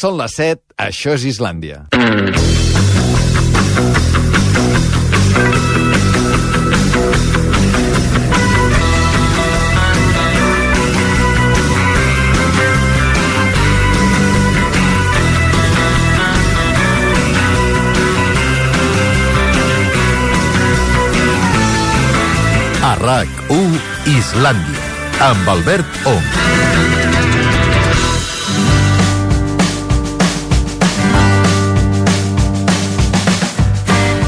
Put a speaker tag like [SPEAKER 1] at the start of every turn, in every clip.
[SPEAKER 1] Són les 7, això és Islàndia.
[SPEAKER 2] A RAC1 Islàndia, amb Albert Ong.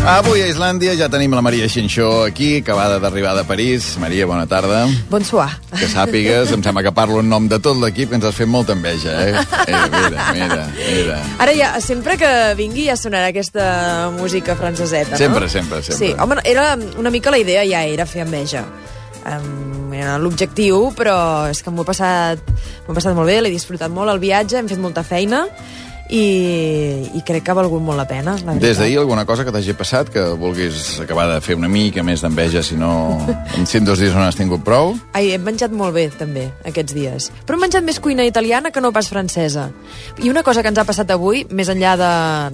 [SPEAKER 1] Avui a Islàndia ja tenim la Maria Xinxó aquí, acabada d'arribar de París. Maria, bona tarda.
[SPEAKER 3] Bonsoir.
[SPEAKER 1] Que sàpigues, em sembla que parlo en nom de tot l'equip, ens has fet molta enveja, eh? eh mira, mira, mira.
[SPEAKER 3] Ara ja, sempre que vingui ja sonarà aquesta música franceseta,
[SPEAKER 1] Sempre,
[SPEAKER 3] no?
[SPEAKER 1] sempre, sempre.
[SPEAKER 3] Sí, home, era una mica la idea ja era fer enveja. Um, era l'objectiu, però és que m'ho he passat, m'ho he passat molt bé, l'he disfrutat molt el viatge, hem fet molta feina i, i crec que ha valgut molt la pena. La
[SPEAKER 1] Des
[SPEAKER 3] veritat.
[SPEAKER 1] d'ahir alguna cosa que t'hagi passat que vulguis acabar de fer una mica més d'enveja si no en 100 dos dies no n'has tingut prou?
[SPEAKER 3] Ai, he menjat molt bé, també, aquests dies. Però he menjat més cuina italiana que no pas francesa. I una cosa que ens ha passat avui, més enllà de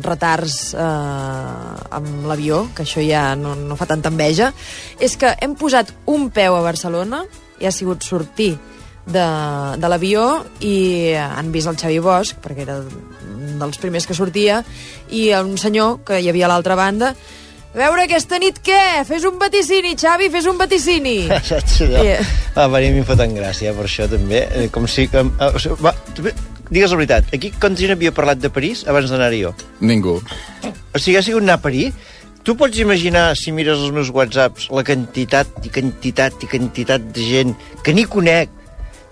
[SPEAKER 3] retards eh, amb l'avió, que això ja no, no fa tanta enveja, és que hem posat un peu a Barcelona i ha sigut sortir de, de l'avió i han vist el Xavi Bosch, perquè era un dels primers que sortia, i un senyor que hi havia a l'altra banda, a veure, aquesta nit què? Fes un vaticini, Xavi, fes un vaticini.
[SPEAKER 4] Saps allò?
[SPEAKER 3] Eh.
[SPEAKER 4] Yeah. La Maria a mi em fa tan gràcia per això, també. Eh, Com si... Com, eh, o sigui, va, tu- digues la veritat, aquí quanta gent havia parlat de París abans d'anar-hi jo?
[SPEAKER 1] Ningú.
[SPEAKER 4] O sigui, ha sigut anar a París? Tu pots imaginar, si mires els meus whatsapps, la quantitat i quantitat i quantitat de gent que ni conec,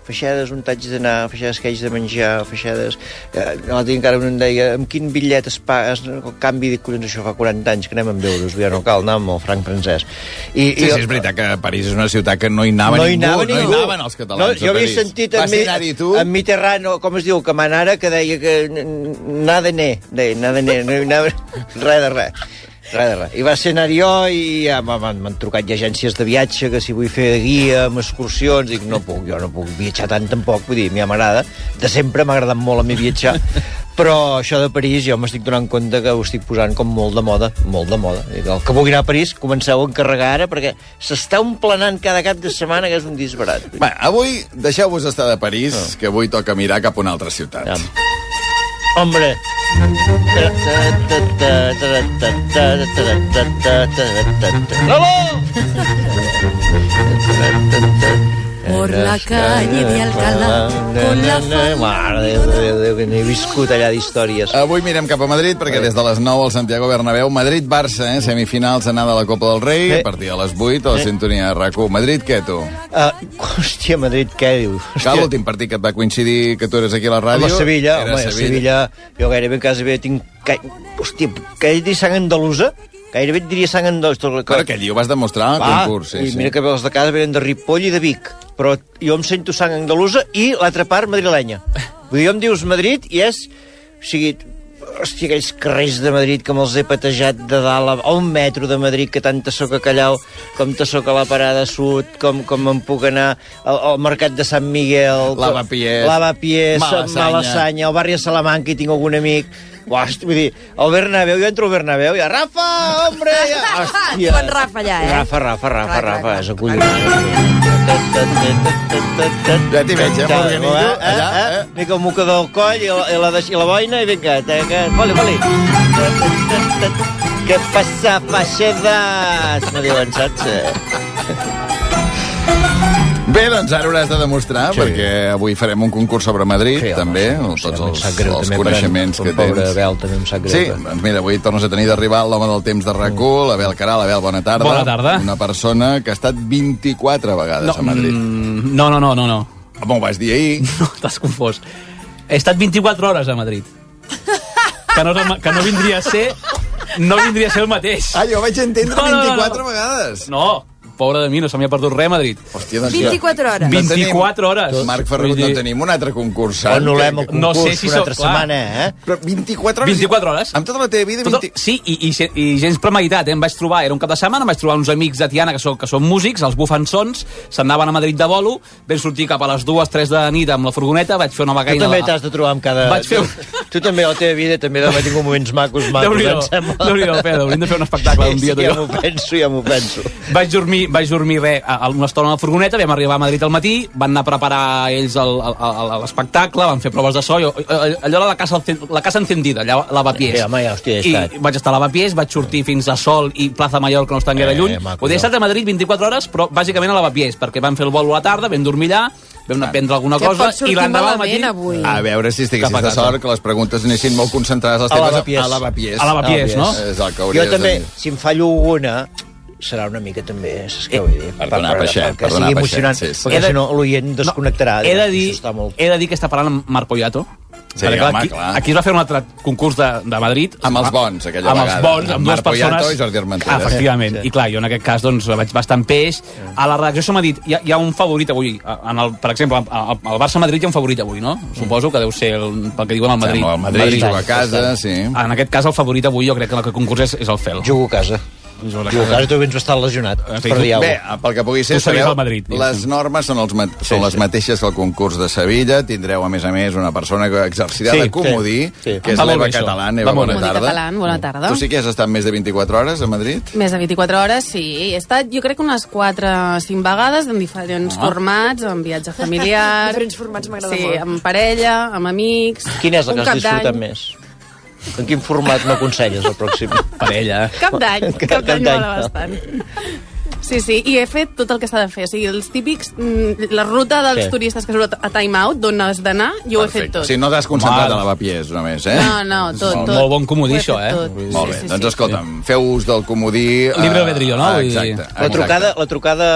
[SPEAKER 4] feixades on t'haig d'anar, feixades que haig de menjar, feixades... Eh, L'altre dia encara un em deia, amb quin bitllet es paga? Es, el canvi de collons, això fa 40 anys que anem amb euros, ja no cal anar amb el franc francès. I,
[SPEAKER 1] Sí, sí, és veritat que París és una ciutat que no hi anava
[SPEAKER 4] no hi
[SPEAKER 1] ningú.
[SPEAKER 4] anava ningú.
[SPEAKER 1] No hi anaven els catalans
[SPEAKER 4] No, jo
[SPEAKER 1] a
[SPEAKER 4] havia
[SPEAKER 1] París.
[SPEAKER 4] sentit
[SPEAKER 1] Vas
[SPEAKER 4] en, Mi-
[SPEAKER 1] anar-hi tu?
[SPEAKER 4] en Mitterrand, o com es diu, que man ara, que deia que n- n- nada ne, deia, nada ne, no hi anava, res de res. Res de res. I va ser anar jo i ja m'han- m'han trucat ja agències de viatge que si vull fer de guia amb excursions, dic no puc, jo no puc viatjar tant tampoc, vull dir, a mi ja m'agrada, de sempre m'ha agradat molt a mi viatjar, però això de París jo m'estic donant compte que ho estic posant com molt de moda, molt de moda. Dic, El que vulgui anar a París, comenceu a encarregar ara perquè s'està emplenant cada cap de setmana que és un disbarat.
[SPEAKER 1] Va, avui deixeu-vos estar de París, que avui toca mirar cap a una altra ciutat.
[SPEAKER 4] Ja. Hombre. Lolo.
[SPEAKER 5] Por la calle de Alcalá, con la fama
[SPEAKER 4] Mare de Déu, Déu, que n'he viscut allà d'històries.
[SPEAKER 1] Avui mirem cap a Madrid, perquè des de les 9 al Santiago Bernabéu, Madrid-Barça, eh? semifinals anada a la Copa del Rei,
[SPEAKER 4] Sí.
[SPEAKER 1] a partir de les 8 a la sintonia de RAC1. Madrid, què, tu?
[SPEAKER 4] Uh, Eh. hòstia, Madrid, què dius? Hòstia.
[SPEAKER 1] Cal l'últim partit que et va coincidir que tu eres aquí a la
[SPEAKER 4] Home,
[SPEAKER 1] ràdio?
[SPEAKER 4] Sevilla,
[SPEAKER 1] Era
[SPEAKER 4] home, Sevilla. Sevilla, jo gairebé quasi bé tinc... Ca... Hòstia, gairebé sang andalusa? Gairebé et diria sang andalusa.
[SPEAKER 1] Però que allí ho vas demostrar al
[SPEAKER 4] Va,
[SPEAKER 1] concurs. Sí,
[SPEAKER 4] i
[SPEAKER 1] sí.
[SPEAKER 4] mira que els de casa venen de Ripoll i de Vic, però jo em sento sang andalusa i l'altra part madrilenya. Vull dir, jo em dius Madrid i és... O sigui, hòstia, aquells carrers de Madrid que me'ls he patejat de dalt a, a un metro de Madrid, que tant te soc a Callau, com te soc a la Parada Sud, com, com em puc anar al, al Mercat de Sant Miguel... com-
[SPEAKER 1] Lavapiés.
[SPEAKER 4] Lavapiés,
[SPEAKER 1] Malassanya.
[SPEAKER 4] Malassanya, al barri de Salamanca hi tinc algun amic... Hòstia, vull dir, al Bernabéu, jo entro al Bernabéu i a Rafa, hombre! Ja, hòstia.
[SPEAKER 3] Tu en Rafa allà, eh?
[SPEAKER 4] Rafa, Rafa, Rafa,
[SPEAKER 3] Clar, clar,
[SPEAKER 4] Rafa,
[SPEAKER 3] clar.
[SPEAKER 4] és acollonat.
[SPEAKER 1] Ja t'hi veig, eh, amb el
[SPEAKER 4] Eh,
[SPEAKER 1] organillo,
[SPEAKER 4] eh,
[SPEAKER 1] allà,
[SPEAKER 4] eh?
[SPEAKER 1] eh?
[SPEAKER 4] Mica el muca del coll i la, i la, deix- i la boina i vinga. te- que- Voli, voli. Què passa, feixedes? Me diuen, saps? Eh,
[SPEAKER 1] Bé, doncs ara hauràs de demostrar, sí. perquè avui farem un concurs sobre Madrid,
[SPEAKER 4] Sí,
[SPEAKER 1] sí,
[SPEAKER 4] home,
[SPEAKER 1] també,
[SPEAKER 4] sí,
[SPEAKER 1] amb
[SPEAKER 4] sí,
[SPEAKER 1] tots
[SPEAKER 4] em
[SPEAKER 1] els,
[SPEAKER 4] sap greu,
[SPEAKER 1] els
[SPEAKER 4] també,
[SPEAKER 1] coneixements
[SPEAKER 4] per en-
[SPEAKER 1] que
[SPEAKER 4] per en
[SPEAKER 1] tens.
[SPEAKER 4] pobre Abel, també em sap greu,
[SPEAKER 1] Sí,
[SPEAKER 4] també.
[SPEAKER 1] doncs mira, avui tornes a tenir d'arribar l'home del temps de rac l'Abel Caral. Abel, bona tarda.
[SPEAKER 6] Bona tarda.
[SPEAKER 1] Una persona que ha estat 24 vegades a Madrid.
[SPEAKER 6] mm, No, no, no, no, no.
[SPEAKER 1] Com ho vas dir ahir?
[SPEAKER 6] no T'has confós. He estat 24 hores a Madrid. Que no, és el ma- que no vindria a ser... No vindria a ser el mateix.
[SPEAKER 1] Ah, jo vaig entendre
[SPEAKER 6] No, no, no, no.
[SPEAKER 1] 24 vegades.
[SPEAKER 6] No, Pobre de mi, no se m'hi ha perdut res a Madrid.
[SPEAKER 1] Hòstia, doncs...
[SPEAKER 3] 24 hores.
[SPEAKER 1] No
[SPEAKER 6] 24 hores.
[SPEAKER 1] Marc Ferrut,
[SPEAKER 6] Vull dir-
[SPEAKER 1] no tenim un altre concursant.
[SPEAKER 4] Anul·lem el
[SPEAKER 1] Que-
[SPEAKER 6] No
[SPEAKER 4] concurs
[SPEAKER 6] sé si
[SPEAKER 4] una altra
[SPEAKER 6] sóc- clar.
[SPEAKER 4] setmana, eh?
[SPEAKER 1] Però 24 hores...
[SPEAKER 6] 24 hores.
[SPEAKER 1] Amb tota la teva vida...
[SPEAKER 6] Tot,
[SPEAKER 1] 20...
[SPEAKER 6] sí, i, i, ge- i gens premeditat, eh? em vaig trobar, era un cap de setmana, em vaig trobar uns amics de Tiana que són, que són músics, els bufansons, se'n anaven a Madrid de bolo, vam sortir cap a les 2, 3 de la nit amb la furgoneta, vaig fer una
[SPEAKER 4] Tu
[SPEAKER 6] becaina...
[SPEAKER 4] també
[SPEAKER 6] de...
[SPEAKER 4] t'has de trobar amb cada...
[SPEAKER 6] Vaig fer un-
[SPEAKER 4] Tu també, a la teva vida, també deu haver tingut moments macos, macos,
[SPEAKER 6] Déu-n'hi-do,
[SPEAKER 4] em sembla.
[SPEAKER 6] Déu-n'hi-do, Pere, hauríem de fer un espectacle un dia,
[SPEAKER 4] sí, ja
[SPEAKER 6] tu i jo.
[SPEAKER 4] m'ho penso, ja m'ho penso.
[SPEAKER 6] Vaig dormir, vaig dormir re, a, a una estona a la furgoneta, vam arribar a Madrid al matí, van anar a preparar ells el- el- el- l'espectacle, van fer proves de so, jo, eh, allò era la casa, encen- la casa encendida, allà a la Bapiés.
[SPEAKER 4] Eh, home, ja, hòstia, he estat.
[SPEAKER 6] I vaig estar a la Bapiés, vaig sortir fins a Sol i Plaza Mallorca, no estan gaire
[SPEAKER 4] Eh,
[SPEAKER 6] lluny.
[SPEAKER 4] maco,
[SPEAKER 6] Ho he estat a Madrid 24 hores, però bàsicament a la Bapiés, perquè van fer el vol a la tarda, vam dormir allà, vam anar a prendre alguna
[SPEAKER 3] Que et
[SPEAKER 6] cosa,
[SPEAKER 3] pot sortir
[SPEAKER 6] i l'endemà al matí...
[SPEAKER 3] malament avui.
[SPEAKER 4] Ah,
[SPEAKER 1] A veure si
[SPEAKER 6] Cap
[SPEAKER 1] estiguessis
[SPEAKER 6] a
[SPEAKER 1] de
[SPEAKER 6] casa.
[SPEAKER 1] sort que les preguntes anessin molt concentrades les
[SPEAKER 4] A la
[SPEAKER 1] teves
[SPEAKER 4] Bapiés.
[SPEAKER 1] a la Bapiés.
[SPEAKER 6] A la Bapiés,
[SPEAKER 4] Ah,
[SPEAKER 6] no?
[SPEAKER 4] Bapiés.
[SPEAKER 1] És el que
[SPEAKER 4] Jo
[SPEAKER 1] hauries
[SPEAKER 4] també,
[SPEAKER 1] de dir.
[SPEAKER 4] si em fallo alguna, serà una mica també, saps què vull dir?
[SPEAKER 1] Eh, perdona,
[SPEAKER 4] Per- per-
[SPEAKER 1] Peixet,
[SPEAKER 4] perquè
[SPEAKER 1] perdona,
[SPEAKER 4] sigui
[SPEAKER 1] Peixet,
[SPEAKER 4] emocionant,
[SPEAKER 1] sí, sí.
[SPEAKER 6] He
[SPEAKER 4] perquè
[SPEAKER 6] de-
[SPEAKER 4] si no l'oient desconnectarà.
[SPEAKER 6] He de,
[SPEAKER 4] dirà,
[SPEAKER 6] dir,
[SPEAKER 4] "Això està molt...
[SPEAKER 6] he de dir que està parlant amb Marc Poyato.
[SPEAKER 1] Sí,
[SPEAKER 6] Perquè,
[SPEAKER 1] home,
[SPEAKER 6] aquí,
[SPEAKER 1] clar.
[SPEAKER 6] aquí es va fer un altre concurs de, de Madrid.
[SPEAKER 1] Amb els bons, aquella
[SPEAKER 6] amb
[SPEAKER 1] vegada.
[SPEAKER 6] Amb els bons, amb,
[SPEAKER 1] Amb
[SPEAKER 6] amb dues
[SPEAKER 1] Marc Poyato
[SPEAKER 6] persones. Ah,
[SPEAKER 1] i Jordi Armenteres.
[SPEAKER 6] Efectivament.
[SPEAKER 4] Sí,
[SPEAKER 6] Sí,
[SPEAKER 4] sí.
[SPEAKER 6] I clar, jo en aquest cas doncs, vaig bastant peix. A la redacció se m'ha dit, hi ha, hi ha un favorit avui. En el, per exemple, al, al Barça-Madrid hi ha un favorit avui, no? Suposo que deu ser el, pel que diuen al Madrid.
[SPEAKER 1] Sembla el Madrid, Madrid juga a casa, sí.
[SPEAKER 6] En aquest cas, el favorit avui, jo crec que el que concurs és, és el Fel.
[SPEAKER 4] Jugo a casa. Jugo a casa, tu vens estar lesionat.
[SPEAKER 6] Eh, sí,
[SPEAKER 4] Per
[SPEAKER 6] tu-
[SPEAKER 4] diau.
[SPEAKER 1] Bé, pel que pugui ser,
[SPEAKER 6] Tu series el Madrid, diguéssim.
[SPEAKER 1] les normes són, els ma són les
[SPEAKER 4] sí.
[SPEAKER 1] mateixes que el concurs de Sevilla. Tindreu, a més a més, una persona que exercirà
[SPEAKER 6] Sí,
[SPEAKER 1] de comodí,
[SPEAKER 4] sí, sí.
[SPEAKER 1] que és
[SPEAKER 6] Va molt
[SPEAKER 1] l'Eva
[SPEAKER 6] bé, això.
[SPEAKER 1] Catalán.
[SPEAKER 6] Va
[SPEAKER 1] Eva,
[SPEAKER 6] molt
[SPEAKER 1] bona
[SPEAKER 6] bé.
[SPEAKER 5] Comodí
[SPEAKER 1] tarda.
[SPEAKER 5] Catalán,
[SPEAKER 4] Mm.
[SPEAKER 5] bona tarda.
[SPEAKER 1] Tu sí que has estat més de 24 hores a Madrid?
[SPEAKER 5] Més de 24 hores, sí. He estat, jo crec, que unes 4 o 5 vegades en
[SPEAKER 4] Ah.
[SPEAKER 5] diferents formats, en viatge familiar...
[SPEAKER 3] Diferents formats m'agrada
[SPEAKER 5] sí,
[SPEAKER 3] molt.
[SPEAKER 5] amb parella, amb amics...
[SPEAKER 4] Quin és el que
[SPEAKER 5] un
[SPEAKER 4] has
[SPEAKER 5] cap
[SPEAKER 4] disfrutat
[SPEAKER 5] d'any.
[SPEAKER 4] més? En quin format m'aconselles el pròxim?
[SPEAKER 6] Parella.
[SPEAKER 5] Cap d'any,
[SPEAKER 4] Cap-
[SPEAKER 5] cap d'any
[SPEAKER 4] cap
[SPEAKER 5] mola
[SPEAKER 4] d'any.
[SPEAKER 5] bastant. Sí, sí, i he fet tot el que s'ha de fer. O sigui, els típics... mm, La ruta dels
[SPEAKER 4] Sí.
[SPEAKER 5] turistes que surt a Time Out, d'on has d'anar, jo ho he fet tot.
[SPEAKER 1] O sigui, no t'has concentrat
[SPEAKER 6] Mal.
[SPEAKER 1] a la Bapiés, només, eh?
[SPEAKER 5] No, no, tot,
[SPEAKER 1] Molt
[SPEAKER 5] tot.
[SPEAKER 6] molt bon comodí,
[SPEAKER 5] Ho he fet
[SPEAKER 6] això, eh?
[SPEAKER 5] tot.
[SPEAKER 1] Molt bé, doncs escolta'm, feu ús del comodí... eh,
[SPEAKER 6] Libre albedrío, no?
[SPEAKER 1] ah,
[SPEAKER 6] Vull dir-
[SPEAKER 1] Exacte.
[SPEAKER 4] La
[SPEAKER 1] exacte.
[SPEAKER 4] trucada, la trucada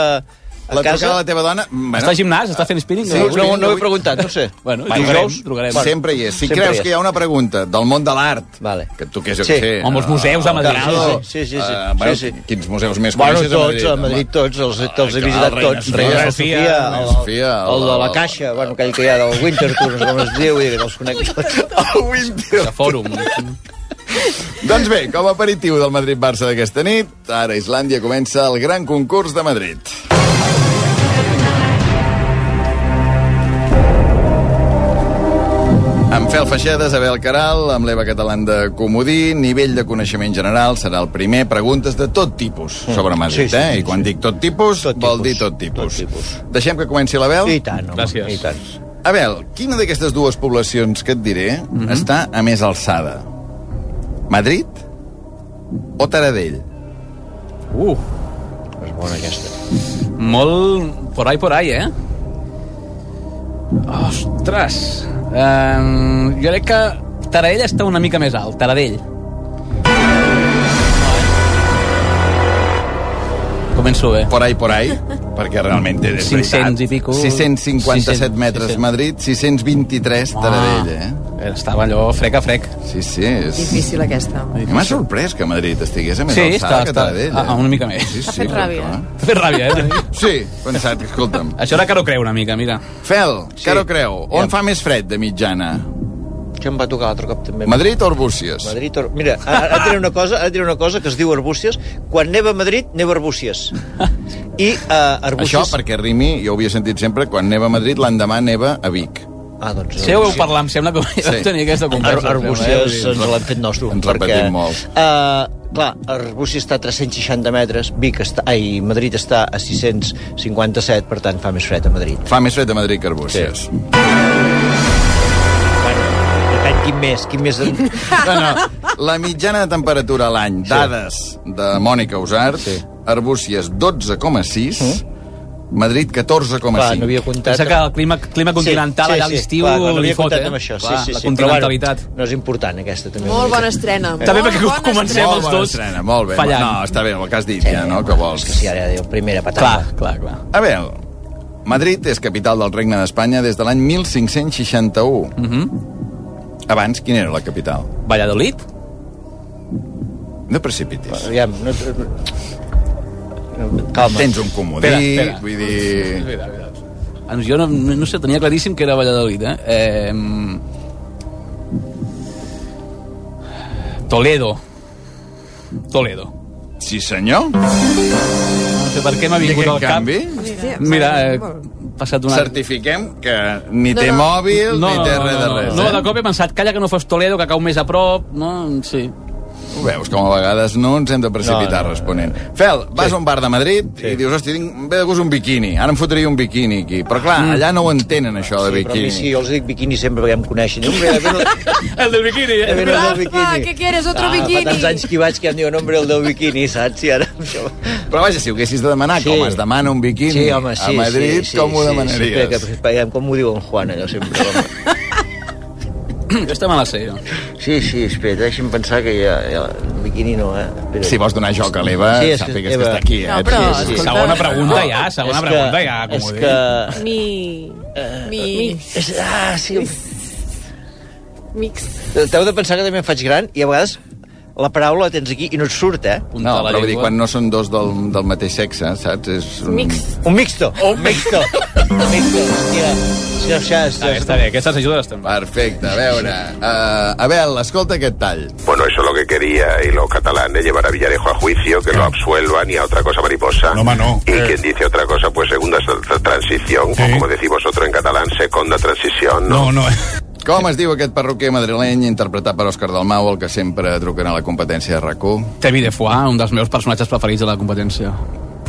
[SPEAKER 4] a
[SPEAKER 1] La
[SPEAKER 4] casa...
[SPEAKER 1] trucada de la teva dona... Bueno,
[SPEAKER 6] Està al gimnàs? Està fent spinning?
[SPEAKER 1] Sí,
[SPEAKER 4] No, no, no ho
[SPEAKER 1] avui-
[SPEAKER 4] he preguntat, no ho sé.
[SPEAKER 6] Bueno,
[SPEAKER 4] Va,
[SPEAKER 6] trucarem,
[SPEAKER 4] dijous?
[SPEAKER 6] trucarem.
[SPEAKER 1] Sempre hi és. Si
[SPEAKER 4] Sempre
[SPEAKER 1] creus
[SPEAKER 4] hi és.
[SPEAKER 1] que hi ha una pregunta del món de l'art,
[SPEAKER 4] Vale.
[SPEAKER 1] que tu que jo
[SPEAKER 4] Sí.
[SPEAKER 1] que sé...
[SPEAKER 6] Home, els museus a Madrid.
[SPEAKER 4] Sí, sí, sí, sí.
[SPEAKER 1] Eh, bueno,
[SPEAKER 4] Sí, sí.
[SPEAKER 1] Quins museus més
[SPEAKER 4] Bueno,
[SPEAKER 1] coneixes
[SPEAKER 4] tots, a Madrid
[SPEAKER 1] Home.
[SPEAKER 4] tots, els, els he
[SPEAKER 1] clar,
[SPEAKER 4] visitat
[SPEAKER 1] Reina
[SPEAKER 4] tots.
[SPEAKER 1] Sofia,
[SPEAKER 4] Reina Sofia,
[SPEAKER 1] Reina
[SPEAKER 4] el-
[SPEAKER 1] Sofia,
[SPEAKER 4] el de la
[SPEAKER 1] el-
[SPEAKER 4] Caixa, bueno, aquell que hi ha del Winter Tour, no sé com es diu, i els conec tots.
[SPEAKER 6] De fòrum.
[SPEAKER 1] Doncs bé, com a aperitiu del Madrid-Barça d'aquesta nit, ara a Islàndia comença el gran concurs de Madrid. Amb Fel Feixeda, Isabel Caral, amb l'Eva Catalán de Comodí, nivell de coneixement general serà el primer, preguntes de tot tipus sobre Madrid,
[SPEAKER 4] Mm. Sí, sí,
[SPEAKER 1] eh?
[SPEAKER 4] sí,
[SPEAKER 1] I quan dic tot tipus,
[SPEAKER 4] Tot
[SPEAKER 1] vol
[SPEAKER 4] tipus.
[SPEAKER 1] dir tot tipus.
[SPEAKER 4] Tot tipus.
[SPEAKER 1] Deixem que comenci l'Abel?
[SPEAKER 4] I tant, home,
[SPEAKER 6] Gràcies.
[SPEAKER 4] i tant.
[SPEAKER 1] Abel, quina d'aquestes dues poblacions que et diré
[SPEAKER 6] Mhm.
[SPEAKER 1] està a més alçada? Madrid o Taradell?
[SPEAKER 6] Uh,
[SPEAKER 4] És bona aquesta.
[SPEAKER 6] molt por ahí, por ahí, eh? Ostres! Um, jo crec que Taradell està una mica més alt, Taradell. Començo bé.
[SPEAKER 1] Por ahí, por ahí, perquè realment té de
[SPEAKER 6] 500 i pico.
[SPEAKER 1] 657
[SPEAKER 6] 600,
[SPEAKER 1] metres
[SPEAKER 6] 600.
[SPEAKER 1] Madrid, 623 Taradell, eh?
[SPEAKER 6] Estava allò frec a frec.
[SPEAKER 1] Sí, sí, és...
[SPEAKER 3] Difícil, aquesta.
[SPEAKER 1] I M'ha sorprès que Madrid estigués a més
[SPEAKER 6] Sí,
[SPEAKER 1] alçada
[SPEAKER 6] està-
[SPEAKER 1] que
[SPEAKER 6] està-
[SPEAKER 1] Taradell. eh?
[SPEAKER 6] ah, ah, una mica més.
[SPEAKER 1] Sí,
[SPEAKER 5] T'ha
[SPEAKER 1] sí,
[SPEAKER 5] fet
[SPEAKER 1] però
[SPEAKER 5] ràbia,
[SPEAKER 1] clar.
[SPEAKER 6] Fer ràbia, eh?
[SPEAKER 1] Sí, pensat, escolta'm.
[SPEAKER 6] Això era caro creu una mica, mira.
[SPEAKER 1] Fel, sí. Caro Creu, on
[SPEAKER 4] Ja.
[SPEAKER 1] fa més fred de mitjana?
[SPEAKER 4] Això em va tocar l'altre cop també.
[SPEAKER 1] Madrid o Arbúcies?
[SPEAKER 4] Madrid, or... mira, ara, ara, diré una cosa, ara diré una cosa que es diu Arbúcies. Quan neva a Madrid, neva a Arbúcies. I uh, Arbúcies...
[SPEAKER 1] Això perquè Rimi, jo ho havia sentit sempre, quan neva a Madrid, l'endemà neva a Vic.
[SPEAKER 4] Ah, doncs...
[SPEAKER 6] Sí, ho heu
[SPEAKER 4] Arbúcies.
[SPEAKER 6] parlat, em sembla que sí.
[SPEAKER 1] Sí.
[SPEAKER 6] tenia aquesta
[SPEAKER 4] Ar
[SPEAKER 6] conversa. em sembla, eh?
[SPEAKER 4] Arbúcies
[SPEAKER 6] Vull dir-
[SPEAKER 4] ens l'han fet nostre.
[SPEAKER 1] Ens repetim molt.
[SPEAKER 4] Uh, clar, Arbúcies està a 360 metres, Vic està, ai, Madrid està a 657, per tant fa més fred a Madrid.
[SPEAKER 1] Fa més fred a Madrid que Arbúcies. Sí.
[SPEAKER 4] Bueno, depèn quin més, quin més...
[SPEAKER 1] No, no. La mitjana de temperatura a l'any, dades de Mònica Usart, sí. Arbúcies 12,6, Madrid 14,5.
[SPEAKER 4] Hm? Clar, no havia comptat...
[SPEAKER 6] Pensa que el clima, clima continental allà a l'estiu
[SPEAKER 4] clar, no
[SPEAKER 6] li
[SPEAKER 4] havia
[SPEAKER 6] fot,
[SPEAKER 4] comptat
[SPEAKER 6] eh?
[SPEAKER 4] amb això,
[SPEAKER 6] Clar,
[SPEAKER 4] sí, sí,
[SPEAKER 6] la
[SPEAKER 4] sí,
[SPEAKER 6] continentalitat.
[SPEAKER 4] Però, bueno, no és important, aquesta, també.
[SPEAKER 3] Molt bona estrena.
[SPEAKER 6] També
[SPEAKER 3] Molt
[SPEAKER 6] perquè
[SPEAKER 3] bona
[SPEAKER 6] comencem
[SPEAKER 3] estrena.
[SPEAKER 1] Molt
[SPEAKER 6] els
[SPEAKER 1] bona
[SPEAKER 6] dos
[SPEAKER 1] estrena, molt bé.
[SPEAKER 6] fallant.
[SPEAKER 1] No, està bé el que has dit,
[SPEAKER 4] Sí,
[SPEAKER 1] ja, no? Que vols.
[SPEAKER 4] És que sí, ara ja diu, primera
[SPEAKER 6] Clar,
[SPEAKER 4] patata.
[SPEAKER 6] clar, clar.
[SPEAKER 1] A veure, Madrid és capital del Regne d'Espanya des de l'any 1561. Mm -hmm. Abans, quina era la capital?
[SPEAKER 6] Valladolid?
[SPEAKER 1] No precipitis.
[SPEAKER 4] Aviam, no, Calma.
[SPEAKER 1] Tens un comodí,
[SPEAKER 6] Espera, espera.
[SPEAKER 1] vull dir...
[SPEAKER 6] Veritat, veritat. Ah, no, Jo no, no no sé, tenia claríssim que era Valladolid, eh? eh Toledo. Toledo.
[SPEAKER 1] Sí, senyor.
[SPEAKER 6] No sé per què m'ha
[SPEAKER 1] I
[SPEAKER 6] vingut
[SPEAKER 1] aquest
[SPEAKER 6] al cap.
[SPEAKER 1] canvi,
[SPEAKER 3] Hòstia,
[SPEAKER 6] Mira, eh,
[SPEAKER 3] molt.
[SPEAKER 6] he passat una...
[SPEAKER 1] certifiquem que ni
[SPEAKER 3] No,
[SPEAKER 1] té
[SPEAKER 3] no.
[SPEAKER 1] mòbil, ni té res de res.
[SPEAKER 6] No,
[SPEAKER 1] eh?
[SPEAKER 6] de cop he pensat, calla que no fos Toledo, que cau més a prop, no? Sí.
[SPEAKER 1] Ho veus, com a vegades no ens hem de precipitar
[SPEAKER 4] No, no, no, no.
[SPEAKER 1] responent. Fel, vas a un bar de Madrid i dius, hòstia, tinc ve de gust un biquini, ara em fotria un biquini aquí. Però clar,
[SPEAKER 6] Mm.
[SPEAKER 1] allà no ho entenen, això
[SPEAKER 4] Sí, però a
[SPEAKER 1] de
[SPEAKER 4] mi
[SPEAKER 1] biquini.
[SPEAKER 4] sí, jo els dic biquini sempre perquè em coneixen. Hombre, a veure,
[SPEAKER 6] El del biquini,
[SPEAKER 4] a veure el
[SPEAKER 3] Ah,
[SPEAKER 4] del biquini.
[SPEAKER 3] què quieres, otro
[SPEAKER 4] Ah,
[SPEAKER 3] biquini?
[SPEAKER 4] Fa tants anys que hi vaig que em diuen, hombre, el del biquini, saps? I ara... Això...
[SPEAKER 1] Però vaja, si ho haguessis de demanar,
[SPEAKER 4] Sí.
[SPEAKER 1] com es demana un biquini
[SPEAKER 4] Sí, home, sí,
[SPEAKER 1] a Madrid,
[SPEAKER 4] sí, sí,
[SPEAKER 1] com ho
[SPEAKER 4] sí,
[SPEAKER 1] demanaries?
[SPEAKER 4] Sí, que, que, paguem, com ho diu en Juan, allò sempre. Home.
[SPEAKER 6] Jo estava a la sèrie.
[SPEAKER 4] Sí, sí, espera, deixa'm pensar que ja... ja el biquini no, eh? Espera.
[SPEAKER 1] Si vols donar joc a l'Eva,
[SPEAKER 4] Sí, és que-
[SPEAKER 1] sàpigues que
[SPEAKER 4] Eva.
[SPEAKER 1] està aquí. Eh?
[SPEAKER 3] No, però,
[SPEAKER 1] Sí, sí.
[SPEAKER 3] escolta,
[SPEAKER 6] Segona pregunta ja, segona
[SPEAKER 4] És que-
[SPEAKER 6] pregunta ja, com ho
[SPEAKER 4] és
[SPEAKER 6] dic.
[SPEAKER 4] que...
[SPEAKER 5] Mi...
[SPEAKER 3] Mi...
[SPEAKER 4] És, ah, sí...
[SPEAKER 5] Mix.
[SPEAKER 4] T'heu de pensar que també em faig gran i a vegades la paraula la tens aquí i no et surt, eh?
[SPEAKER 1] No, però vull dir, quan no són dos del, del mateix sexe, saps? És un...
[SPEAKER 5] Mix.
[SPEAKER 4] Un mixto. Un mixto. un mixto, hòstia. Sí, hòstia, hòstia.
[SPEAKER 6] Està bé, aquestes ajudes estan bé.
[SPEAKER 1] Perfecte, a veure. Uh, Abel, escolta aquest tall.
[SPEAKER 7] Bueno, eso es lo que quería y los catalanes, llevar a Villarejo a juicio, que lo absuelvan y a otra cosa mariposa.
[SPEAKER 8] No, ma, no.
[SPEAKER 7] Y
[SPEAKER 8] Eh.
[SPEAKER 7] quien dice otra cosa, pues segunda tra- transición,
[SPEAKER 8] Sí.
[SPEAKER 7] o como decís vosotros en catalán, segunda transición,
[SPEAKER 8] No,
[SPEAKER 7] ¿no?
[SPEAKER 8] no.
[SPEAKER 1] Com es diu aquest perruquer madrileny interpretat per Òscar Dalmau, el que sempre truquen a la competència de RAC1?
[SPEAKER 6] Tevi de Foix, Ah, un dels meus personatges preferits de la competència.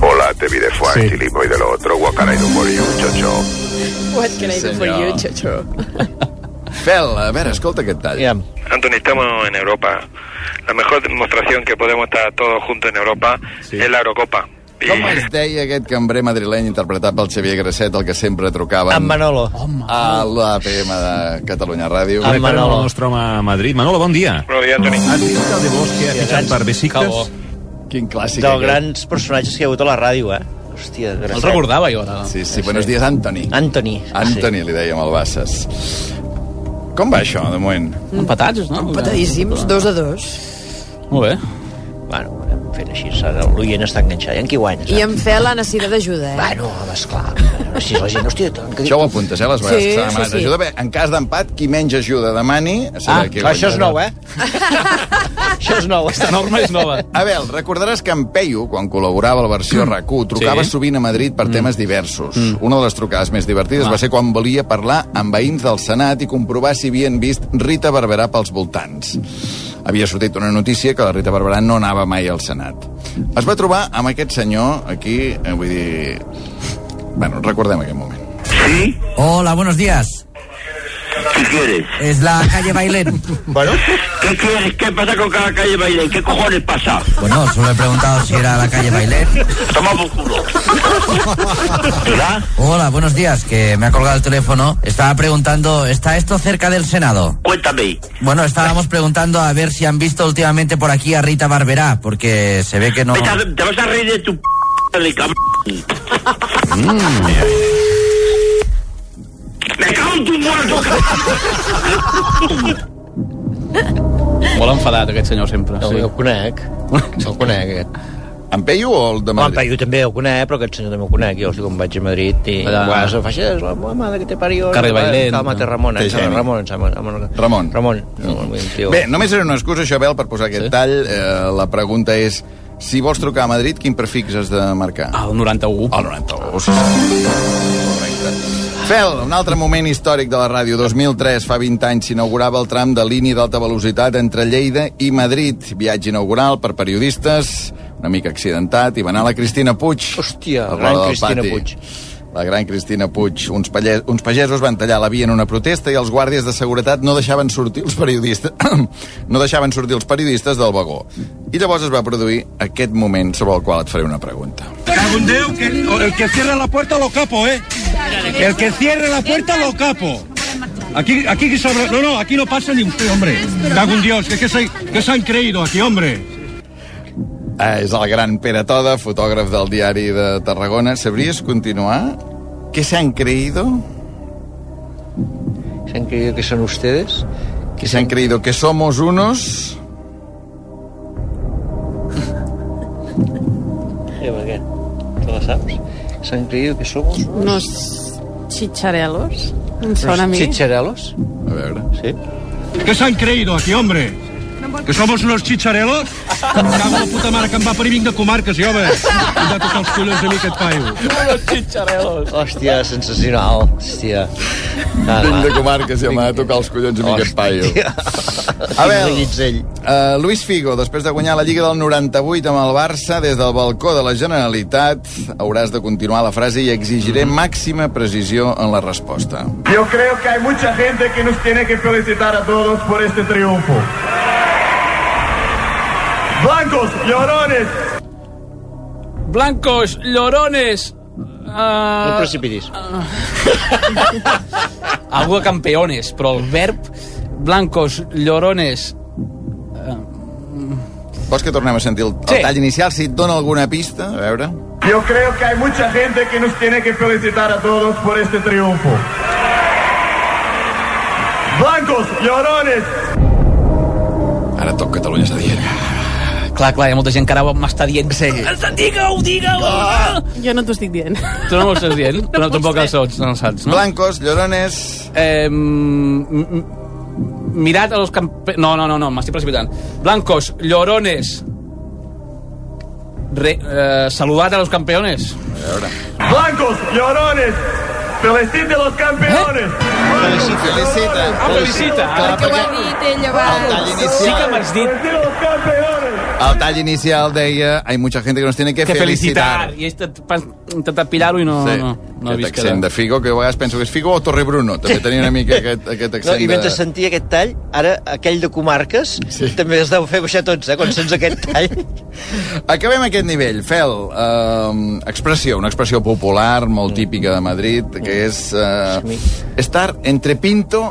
[SPEAKER 7] Hola, te vi de fuá,
[SPEAKER 8] Sí.
[SPEAKER 7] y y de lo otro, guacara y de humor y un chocho.
[SPEAKER 3] What can I do for
[SPEAKER 1] senyor.
[SPEAKER 3] you, xotxo?
[SPEAKER 1] Fel, a veure, escolta aquest tall.
[SPEAKER 4] Aviam.
[SPEAKER 9] Anthony, estamos en Europa. La mejor demostración que podemos estar todos juntos en Europa es la Eurocopa. Y
[SPEAKER 1] Com es deia aquest cambrer madrileny interpretat pel Xavier Grasset, el que sempre trucaven
[SPEAKER 4] En Manolo.
[SPEAKER 1] a l'APM de Catalunya Ràdio?
[SPEAKER 4] Amb- Manolo.
[SPEAKER 8] El nostre home a Madrid. Manolo, bon dia.
[SPEAKER 9] Buenos días, Anthony.
[SPEAKER 8] Has vist el de Bosch que ha fitxat per
[SPEAKER 6] Calvo.
[SPEAKER 8] Besiktas?
[SPEAKER 1] Quin clàssic
[SPEAKER 4] Dels
[SPEAKER 1] aquest.
[SPEAKER 4] grans personatges que hi ha hagut a la ràdio, eh? Hòstia,
[SPEAKER 6] El
[SPEAKER 4] gràcies.
[SPEAKER 6] recordava jo, ara.
[SPEAKER 1] Sí, sí, buenos días, Anthony.
[SPEAKER 4] Anthony.
[SPEAKER 1] Anthony, li dèiem al Bassas. Com va això, de moment?
[SPEAKER 6] Empatats, no?
[SPEAKER 3] Patadíssims, dos a dos.
[SPEAKER 6] Molt bé.
[SPEAKER 4] Sí. Bueno, fent així, ara l'oient està enganxat. I en qui guanyes?
[SPEAKER 3] I
[SPEAKER 4] eh?
[SPEAKER 3] en Fel ha necessitat ajuda, eh?
[SPEAKER 4] Bueno, home, esclar. Si la gent, hòstia... tant Que...
[SPEAKER 1] Això ho apuntes, eh, les vegades
[SPEAKER 3] Sí,
[SPEAKER 1] que s'ha
[SPEAKER 3] sí,
[SPEAKER 1] demanat
[SPEAKER 3] sí.
[SPEAKER 1] ajuda. Bé, en cas d'empat, qui menys ajuda demani...
[SPEAKER 4] Ah,
[SPEAKER 1] serà qui
[SPEAKER 4] això és
[SPEAKER 1] guanyarà.
[SPEAKER 4] nou, eh? això és nou.
[SPEAKER 6] La norma és nova.
[SPEAKER 1] Abel, recordaràs que en Peyu, quan col·laborava a la versió RAC1, trucava
[SPEAKER 6] Sí.
[SPEAKER 1] sovint a Madrid per temes diversos. Una de les trucades més divertides va ser quan volia parlar amb veïns del Senat i comprovar si havien vist Rita Barberà pels voltants. Havia sortit una notícia que la Rita Barberà no anava mai al Senat. Es va trobar amb aquest senyor aquí, eh, vull dir... Bueno, recordem aquest moment.
[SPEAKER 7] ¿Sí?
[SPEAKER 10] Hola, buenos días.
[SPEAKER 7] ¿Qué quieres?
[SPEAKER 10] Es la calle Bailén.
[SPEAKER 4] Bueno,
[SPEAKER 7] ¿Qué quieres? ¿Qué pasa con cada calle baile? ¿Qué cojones pasa?
[SPEAKER 10] Bueno, solo he preguntado si era la calle Bailén.
[SPEAKER 7] Toma por culo.
[SPEAKER 10] Hola, buenos días, que me ha colgado el teléfono. Estaba preguntando, ¿está esto cerca del Senado?
[SPEAKER 7] Cuéntame.
[SPEAKER 10] Bueno, estábamos preguntando a ver si han visto últimamente por aquí a Rita Barberá, porque se ve que no...
[SPEAKER 7] Te vas a reír de tu p... de cabrón. Mm. Me cago en tu muerto,
[SPEAKER 6] Molt enfadat, aquest senyor, sempre.
[SPEAKER 4] no,
[SPEAKER 6] Sí.
[SPEAKER 4] jo el conec. El conec, aquest.
[SPEAKER 1] En Peyu o el
[SPEAKER 4] Home,
[SPEAKER 1] de
[SPEAKER 4] en
[SPEAKER 1] Madrid?
[SPEAKER 4] Peyu també el conec, però aquest senyor també el conec. Jo, hosti, quan vaig a Madrid i...
[SPEAKER 6] Allà.
[SPEAKER 4] Allà... Guas, em fa així, la meva mare que te parió. eh,
[SPEAKER 6] Carrer Bailén.
[SPEAKER 4] Calma't, Ramon.
[SPEAKER 1] Té
[SPEAKER 4] em sembla,
[SPEAKER 1] geni.
[SPEAKER 4] Ramon, em sembla, Ramon.
[SPEAKER 1] Ramon.
[SPEAKER 4] Ramon. No, un tio.
[SPEAKER 1] Bé, només era una excusa, això, Abel, per posar aquest sí. tall. Eh, la pregunta és, si vols trucar a Madrid, quin prefix has de marcar?
[SPEAKER 6] El 91.
[SPEAKER 1] El 91. sí, sí. Correcte. Fel, un altre moment històric de la ràdio. 2003, fa 20 anys, s'inaugurava el tram de línia d'alta velocitat entre Lleida i Madrid. Viatge inaugural per periodistes, una mica accidentat, i va anar la Cristina Puig.
[SPEAKER 4] Hòstia,
[SPEAKER 1] al
[SPEAKER 4] gran
[SPEAKER 1] Roda del
[SPEAKER 4] Cristina Puig.
[SPEAKER 1] La gran Cristina Puig. Uns, palle- uns pagesos van tallar la via en una protesta i els guàrdies de seguretat no deixaven sortir els periodistes no deixaven sortir els periodistes del vagó. I llavors es va produir aquest moment sobre el qual et faré una pregunta.
[SPEAKER 8] El que cierra la puerta lo capo, eh? El que cierra la puerta lo capo. Aquí, aquí sobre... No, no, aquí no pasa ni usted, hombre. Cago en Dios, que se, que se han creído aquí, hombre.
[SPEAKER 1] Ah, és el gran Pere Toda, fotògraf del diari de Tarragona. Sabries continuar? ¿Qué se han creído?
[SPEAKER 4] ¿Se han creído que son ustedes?
[SPEAKER 1] ¿Que se han creído que somos unos?
[SPEAKER 4] Què ¿sabes? Se han creído que somos...
[SPEAKER 5] Unos chicharelos. Em sona a mi.
[SPEAKER 4] chicharelos.
[SPEAKER 1] A veure.
[SPEAKER 4] Sí.
[SPEAKER 8] ¿Qué se han creído aquí, hombre? Que somos unos chicharelos? Cago en la puta mare que em va per vinc de comarques, jo, home. Em va tocar els collons a mi aquest paio.
[SPEAKER 6] Unos chicharelos.
[SPEAKER 4] Hòstia, sensacional. Hòstia.
[SPEAKER 1] Vinc de comarques i em va tocar els collons a mi aquest paio.
[SPEAKER 4] A
[SPEAKER 1] veure.
[SPEAKER 4] veure...
[SPEAKER 1] Uh, Luis Figo, després de guanyar la Lliga del 98 amb el Barça, des del balcó de la Generalitat, hauràs de continuar la frase i exigiré màxima precisió en la resposta.
[SPEAKER 11] Yo creo que hay mucha gente que nos tiene que felicitar a todos por este triunfo. Blancos, llorones.
[SPEAKER 6] Blancos, llorones...
[SPEAKER 4] No et
[SPEAKER 6] Uh,
[SPEAKER 4] precipitis.
[SPEAKER 6] algo de campeones, però el verb... Blancos, llorones...
[SPEAKER 1] Vols que tornem a sentir el, el
[SPEAKER 6] Sí.
[SPEAKER 1] tall inicial, si et dona alguna pista? A veure...
[SPEAKER 11] Yo creo que hay mucha gente que nos tiene que felicitar a todos por este triunfo. Blancos, llorones.
[SPEAKER 1] Ara toc Catalunya és a dir.
[SPEAKER 6] Clar, clar, hi ha molta gent que ara m'està dient... Sí. Eh, Digue-ho, digue-ho! Ah!
[SPEAKER 5] Jo no t'ho estic dient.
[SPEAKER 6] Tu no m'ho estàs dient? No, no
[SPEAKER 5] pot
[SPEAKER 6] tampoc
[SPEAKER 5] ser.
[SPEAKER 6] el saps, no el saps, no?
[SPEAKER 1] Blancos, llorones...
[SPEAKER 6] Eh, mm, mm, mirad a los campe... No, no, no, no m'estic precipitant. Blancos, llorones... Re, eh, saludad a los campeones.
[SPEAKER 11] Blancos, llorones. Felicite a los campeones.
[SPEAKER 1] Felicita.
[SPEAKER 6] Ah, felicita. Ai,
[SPEAKER 1] Clar,
[SPEAKER 3] Que ho ha
[SPEAKER 1] perquè
[SPEAKER 3] dit ell
[SPEAKER 1] el
[SPEAKER 3] abans.
[SPEAKER 1] tall
[SPEAKER 6] Sí que
[SPEAKER 1] inicial,
[SPEAKER 6] m'has dit
[SPEAKER 11] Felicite a los campeones.
[SPEAKER 1] el tall inicial deia hay mucha gente que nos tiene que,
[SPEAKER 6] que felicitar.
[SPEAKER 1] felicitar.
[SPEAKER 6] I he estat pas- intentat pillar-ho i no,
[SPEAKER 1] Sí.
[SPEAKER 6] no, no he
[SPEAKER 1] aquest
[SPEAKER 6] vist que...
[SPEAKER 1] accent de Figo, que a vegades penso que és Figo o Torrebruno. També tenia una mica aquest, aquest
[SPEAKER 4] No,
[SPEAKER 1] accent
[SPEAKER 4] I mentre
[SPEAKER 1] de...
[SPEAKER 4] sentia aquest tall, ara aquell de comarques sí. també es deu fer baixar tots, eh, quan sents aquest tall.
[SPEAKER 1] Acabem aquest nivell. Fel, eh, expressió, una expressió popular
[SPEAKER 4] Mm.
[SPEAKER 1] molt típica de Madrid, que és eh, estar entre Pinto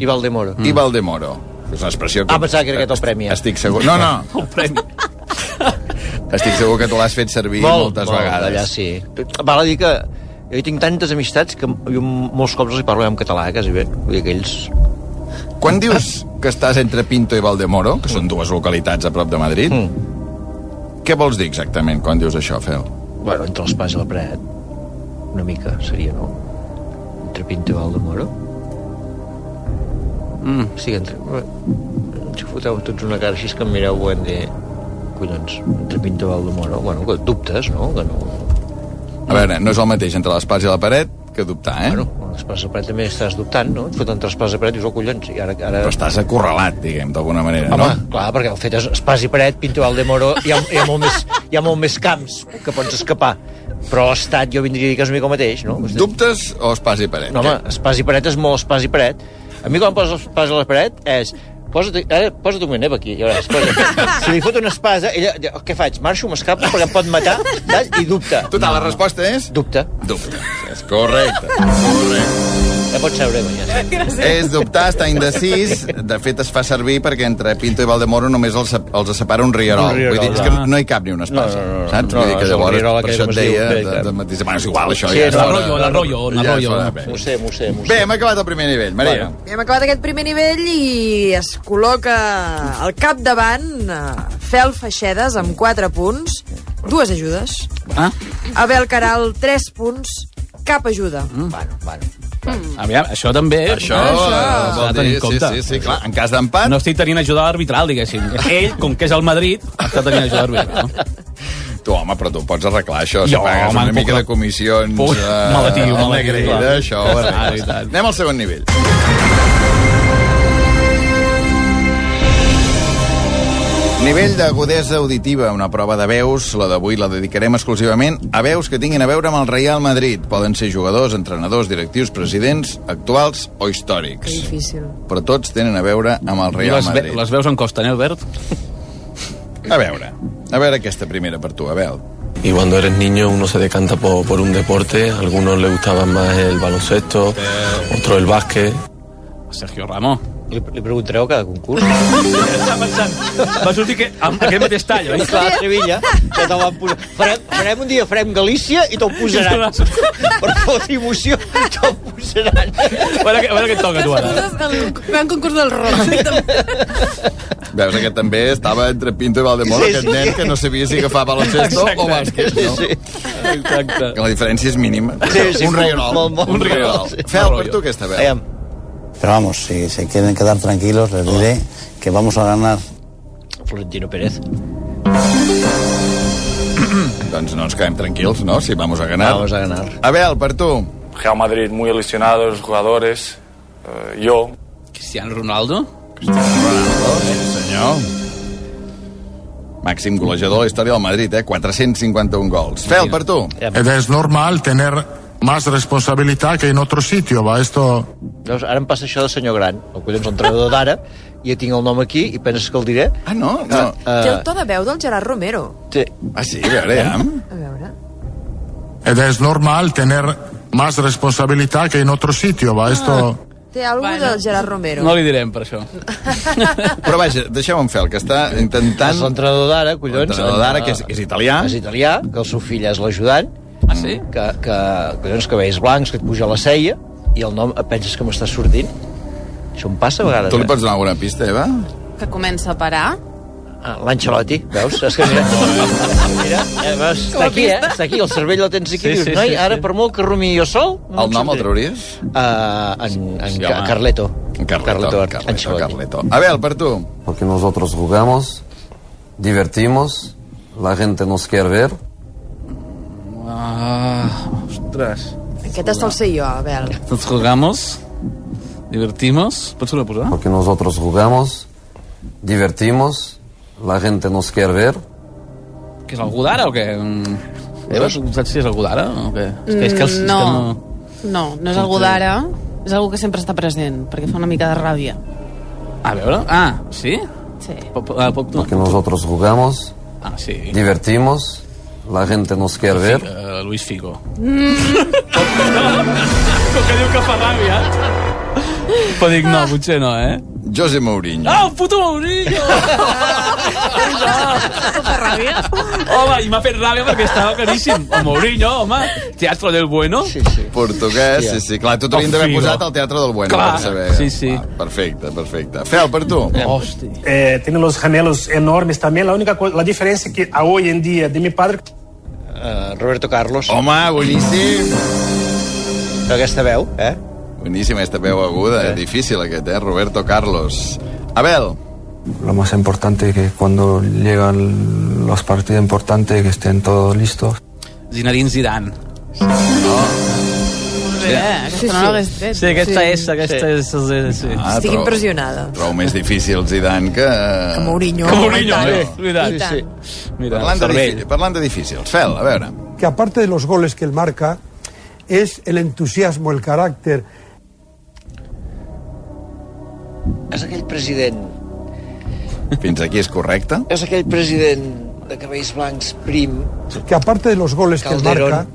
[SPEAKER 4] I Valdemoro. Mm.
[SPEAKER 1] i Valdemoro. És una expressió que...
[SPEAKER 4] Ah, pensava que era aquest el premi, eh?
[SPEAKER 1] Estic segur... No, no,
[SPEAKER 6] El premi.
[SPEAKER 1] estic segur que tu l'has fet servir moltes vegades.
[SPEAKER 4] Allà sí. Val a dir que jo hi tinc tantes amistats que jo molts cops els hi parlo en català, quasi bé. Vull dir que ells...
[SPEAKER 1] Quan dius que estàs entre Pinto i Valdemoro, que són dues localitats a prop de Madrid, mm. què vols dir exactament quan dius això, Fel?
[SPEAKER 4] Hmm. Bueno, entre els pas i la paret, una mica seria, no? Entre Pinto i Valdemoro.
[SPEAKER 6] Mm.
[SPEAKER 4] Sí, entre... eh, Si foteu tots una cara així és que em mireu ho hem de... Collons, entre Pinto i Valdemoro. Bueno, que dubtes, no? Que no...
[SPEAKER 1] A veure, no és el mateix entre l'espasa i la paret que dubtar, eh?
[SPEAKER 4] Bueno, un traspàs de paret també estàs dubtant, no? Et foten traspàs de paret i dius, oh, collons, i ara... ara...
[SPEAKER 1] Però estàs acorralat, diguem, d'alguna manera,
[SPEAKER 4] Home,
[SPEAKER 1] no?
[SPEAKER 4] clar, perquè el fet és espàs i paret, Pinto Valdemoro, hi ha, hi, ha molt més, hi ha molt més camps que pots escapar. Però l'estat jo vindria a dir que és una mica el mateix, no?
[SPEAKER 1] Dubtes o espasa i paret?
[SPEAKER 4] No, home, espàs i paret és molt espàs i paret. A mi quan poso espàs a la paret és... Posa't, ara, posa't un minut aquí, ja veuràs. posa't. Si li fot una espasa, ella... diu, "Oh, Què faig? Marxo, m'escapo, perquè em pot matar? Saps? I dubta.
[SPEAKER 1] Total, la resposta és...
[SPEAKER 4] Dubta.
[SPEAKER 1] Dubte. És correcte. correcte.
[SPEAKER 4] Ja pots seure, ja.
[SPEAKER 1] És dubtar, estar indecís. De fet, es fa servir perquè entre Pinto i Valdemoro només els, sep- els separa un rierol.
[SPEAKER 4] Un rierol,
[SPEAKER 1] Vull dir, és
[SPEAKER 6] clar.
[SPEAKER 1] que no hi cap ni una espasa.
[SPEAKER 4] No, no, no, no.
[SPEAKER 1] saps?
[SPEAKER 4] No,
[SPEAKER 1] Vull
[SPEAKER 4] no,
[SPEAKER 1] dir que
[SPEAKER 4] és un
[SPEAKER 1] llavors,
[SPEAKER 4] rierol
[SPEAKER 1] per
[SPEAKER 4] aquell
[SPEAKER 1] això
[SPEAKER 4] que
[SPEAKER 1] et
[SPEAKER 4] es diu,
[SPEAKER 1] deia...
[SPEAKER 4] bé,
[SPEAKER 1] De,
[SPEAKER 4] clar.
[SPEAKER 1] de, de, de, és igual, això
[SPEAKER 4] Sí,
[SPEAKER 1] ja. és
[SPEAKER 4] no,
[SPEAKER 1] hora.
[SPEAKER 4] l'arroyo,
[SPEAKER 6] l'arroyo,
[SPEAKER 1] Ja és
[SPEAKER 6] l'arroyo.
[SPEAKER 1] hora, bé.
[SPEAKER 4] M'ho sé, m'ho sé, m'ho sé.
[SPEAKER 1] Bé, hem acabat el primer nivell, Maria. Bueno.
[SPEAKER 3] Hem acabat aquest primer nivell i es col·loca al capdavant eh, Fel Feixedes amb 4 punts, dues ajudes.
[SPEAKER 6] Ah?
[SPEAKER 3] Abel Caral, 3 punts, cap ajuda.
[SPEAKER 4] Bueno, bueno.
[SPEAKER 6] Aviam, això també... eh,
[SPEAKER 1] Això,
[SPEAKER 6] s'ha
[SPEAKER 1] eh,
[SPEAKER 6] de
[SPEAKER 1] vol
[SPEAKER 6] tenir
[SPEAKER 1] dir,
[SPEAKER 6] en
[SPEAKER 1] sí,
[SPEAKER 6] compte.
[SPEAKER 1] sí, sí, clar, en cas d'empat,
[SPEAKER 6] No
[SPEAKER 1] no.
[SPEAKER 6] estic tenint ajuda arbitral, diguéssim. Ell, com que és el Madrid, està tenint ajuda arbitral. No?
[SPEAKER 1] tu, home, però tu pots arreglar això, si
[SPEAKER 6] Jo,
[SPEAKER 1] pagues
[SPEAKER 6] home,
[SPEAKER 1] una
[SPEAKER 6] em
[SPEAKER 1] mica
[SPEAKER 6] puc-
[SPEAKER 1] de comissions...
[SPEAKER 6] Puc- me la tiro, me la tiro,
[SPEAKER 1] alegrida,
[SPEAKER 6] clar.
[SPEAKER 1] Això, ho
[SPEAKER 6] Ah,
[SPEAKER 1] arregles.
[SPEAKER 6] i tant.
[SPEAKER 1] Anem al segon nivell. Nivell d'agudesa auditiva, una prova de veus. La d'avui la dedicarem exclusivament a veus que tinguin a veure amb el Real Madrid. Poden ser jugadors, entrenadors, directius, presidents, actuals o
[SPEAKER 3] Que
[SPEAKER 1] històrics.
[SPEAKER 3] difícil.
[SPEAKER 1] Però tots tenen a veure amb el Real
[SPEAKER 6] Les, ve,
[SPEAKER 1] Madrid.
[SPEAKER 6] les veus en costa, eh, Albert?
[SPEAKER 1] A veure, a veure aquesta primera per tu, Abel.
[SPEAKER 12] Y cuando eres niño uno se decanta por, por un deporte, a algunos le gustaba más el baloncesto, otro el básquet.
[SPEAKER 6] Eh. Sergio Ramos.
[SPEAKER 4] Li, li preguntareu a cada concurs?
[SPEAKER 6] Està pensant. Va sortir que, amb aquest mateix tall, oi?
[SPEAKER 4] Clar, a Sevilla, que te van posar. Farem, farem un dia, farem Galícia i te'l posaran. per fotre emoció, te'l posaran.
[SPEAKER 6] A veure, què- a veure què et toca, tu, ara.
[SPEAKER 5] Gran concurs del rock.
[SPEAKER 1] Veus, aquest també estava entre Pinto i Valdemoro,
[SPEAKER 2] Sí,
[SPEAKER 1] sí, aquest
[SPEAKER 2] sí.
[SPEAKER 1] nen que no sabia si agafava baloncesto
[SPEAKER 2] Exacte.
[SPEAKER 1] o bàsquet, no? Sí,
[SPEAKER 6] Exacte.
[SPEAKER 1] Que la diferència és mínima.
[SPEAKER 2] Sí, sí,
[SPEAKER 1] un reirol.
[SPEAKER 2] molt, molt,
[SPEAKER 1] un
[SPEAKER 2] molt.
[SPEAKER 1] reirol.
[SPEAKER 2] Sí.
[SPEAKER 1] Fel, per tu aquesta veu.
[SPEAKER 13] Pero vamos, si se quieren quedar tranquilos, les diré que vamos a ganar.
[SPEAKER 4] Florentino Pérez.
[SPEAKER 1] doncs no ens quedem tranquils, no? Si vamos a ganar. Vamos
[SPEAKER 4] a ganar.
[SPEAKER 1] Abel, per tu.
[SPEAKER 14] Real Madrid muy ilusionado, los jugadores, eh, yo.
[SPEAKER 6] Cristiano Ronaldo.
[SPEAKER 1] Senyor. Màxim golejador de la història del Madrid, eh? 451 gols. Fel, per tu.
[SPEAKER 15] Es normal tener más responsabilidad que en otro sitio, va, esto...
[SPEAKER 4] Llavors, ara em passa això de senyor gran, el collons entrenador d'ara, i ja tinc el nom aquí i penses que el diré. eh,
[SPEAKER 1] Ah, no?
[SPEAKER 4] no.
[SPEAKER 3] Té el to de veu del Gerard Romero.
[SPEAKER 4] sí.
[SPEAKER 1] Ah, sí, a veure, ja.
[SPEAKER 3] A veure...
[SPEAKER 15] Es normal tener más responsabilidad que en otro sitio, va, esto...
[SPEAKER 3] Té alguna bueno, del Gerard Romero.
[SPEAKER 6] li direm per això.
[SPEAKER 1] Però vaja, deixeu-me fer el que està intentant...
[SPEAKER 4] És l'entrenador d'ara, collons.
[SPEAKER 1] L'entrenador d'ara, que és, és italià.
[SPEAKER 4] És italià, que el seu fill és l'ajudant.
[SPEAKER 6] Ah, sí?
[SPEAKER 4] Que, que, collons, cabells blancs, que et puja a la ceia, i el nom eh, penses que m'està sortint. Això em passa a vegades.
[SPEAKER 1] Tu li
[SPEAKER 4] eh?
[SPEAKER 1] pots donar alguna pista, Eva?
[SPEAKER 5] Que comença a parar.
[SPEAKER 4] Ah, L'Ancelotti, veus? És que mira, mira, eh, veus,
[SPEAKER 5] Com a
[SPEAKER 4] està aquí, eh?
[SPEAKER 5] pista.
[SPEAKER 4] Està aquí, el cervell el tens aquí.
[SPEAKER 5] Sí,
[SPEAKER 4] Sí, dius,
[SPEAKER 5] sí,
[SPEAKER 4] sí, noi,
[SPEAKER 5] sí,
[SPEAKER 4] sí, ara,
[SPEAKER 5] sí.
[SPEAKER 4] sí. per molt que rumi jo sol... No
[SPEAKER 1] El nom el trauries?
[SPEAKER 4] Uh, en, en sí,
[SPEAKER 1] home.
[SPEAKER 4] Carleto.
[SPEAKER 1] Carleto, Carleto, Carleto, Carleto. Abel, per tu.
[SPEAKER 16] Porque nosotros jugamos, divertimos, la gente nos quiere ver.
[SPEAKER 6] Ah, ostres.
[SPEAKER 3] Aquest està el sé jo, Abel.
[SPEAKER 6] Tots jugamos, divertimos... Pots reposar?
[SPEAKER 16] Porque nosotros jugamos, divertimos, la gente nos quiere ver.
[SPEAKER 6] Que és algú d'ara o què? Eva, tu saps si és algú d'ara o què? És que, és que el
[SPEAKER 5] Mm,
[SPEAKER 6] sistema...
[SPEAKER 5] no. No, no és algú d'ara, és algú que sempre està present, perquè fa una mica de ràbia.
[SPEAKER 6] A veure... Ah, sí?
[SPEAKER 5] Sí.
[SPEAKER 6] Po- po- ah, poc- no.
[SPEAKER 16] Porque nosotros jugamos,
[SPEAKER 6] Ah, sí.
[SPEAKER 16] divertimos, la gente nos quiere ver.
[SPEAKER 6] Eh, Luis Figo.
[SPEAKER 5] Mm,
[SPEAKER 6] Com que diu que fa ràbia. Però dic, no, potser no, eh?
[SPEAKER 1] José Mourinho.
[SPEAKER 6] Ah, un puto Mourinho!
[SPEAKER 5] fa ràbia.
[SPEAKER 6] Home, i m'ha fet ràbia perquè estava claríssim. El Mourinho, home, teatro del bueno. Sí,
[SPEAKER 4] sí.
[SPEAKER 1] Portuguès, sí, sí. Clar, tu t'haurien d'haver posat al Teatre del Bueno,
[SPEAKER 6] Clar.
[SPEAKER 1] per saber.
[SPEAKER 6] Sí, sí.
[SPEAKER 1] Va, perfecte, perfecte. Fel, per tu.
[SPEAKER 17] É.
[SPEAKER 4] Oh,
[SPEAKER 6] Hòstia.
[SPEAKER 17] Eh, tiene los gemelos enormes también. La única co- la diferencia que a hoy en día de mi padre.
[SPEAKER 4] Uh, Roberto Carlos.
[SPEAKER 1] Home, boníssim.
[SPEAKER 4] Aquesta veu, eh?
[SPEAKER 1] Boníssima, aquesta veu aguda. Eh? Difícil, aquest, eh? Roberto Carlos. Abel.
[SPEAKER 18] Lo más importante es que cuando llegan los partidos importantes que estén todos listos.
[SPEAKER 6] Zinedine Zidane.
[SPEAKER 5] Bé, Eh, aquesta no l'hagués tret.
[SPEAKER 6] Sí, aquesta és, aquesta és... sí, Sí.
[SPEAKER 1] Ah,
[SPEAKER 3] Estic
[SPEAKER 1] però-
[SPEAKER 3] impressionada.
[SPEAKER 1] Trobo més difícil Zidane que... eh, Que
[SPEAKER 3] Mourinho.
[SPEAKER 1] Que Mourinho,
[SPEAKER 3] I tant.
[SPEAKER 1] eh?
[SPEAKER 3] I
[SPEAKER 1] Cuidat.
[SPEAKER 3] tant.
[SPEAKER 1] Sí, sí. Mira, parlant, de
[SPEAKER 6] cervell.
[SPEAKER 1] difícil, parlant de difícils. Fel, a veure.
[SPEAKER 19] que aparte de los goles que él marca, es el entusiasmo, el carácter.
[SPEAKER 4] És aquell president...
[SPEAKER 1] Fins aquí és correcte?
[SPEAKER 4] És aquell president de cabells blancs prim...
[SPEAKER 19] Que aparte de los goles que él
[SPEAKER 4] Calderón.
[SPEAKER 19] marca,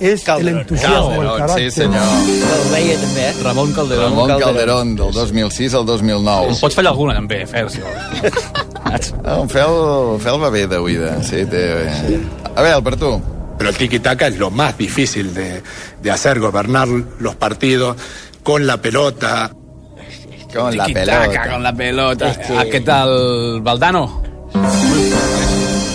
[SPEAKER 19] es el entusiasmo, el
[SPEAKER 1] Calderón,
[SPEAKER 19] carácter.
[SPEAKER 1] sí, senyor.
[SPEAKER 4] El veia també, eh?
[SPEAKER 6] Ramon Calderón.
[SPEAKER 1] Ramon Calderón, del 2006 al 2009.
[SPEAKER 6] En pots fallar alguna, també, Fer, si vols.
[SPEAKER 1] No, Ah, Fel, Fel va bé de oïda, sí, té... A ver, per tu.
[SPEAKER 20] Pero el tiki-taka es lo más difícil de, de hacer, gobernar los partidos con la pelota.
[SPEAKER 1] Con
[SPEAKER 6] la pelota. Con la pelota. Este... Aquest el Valdano.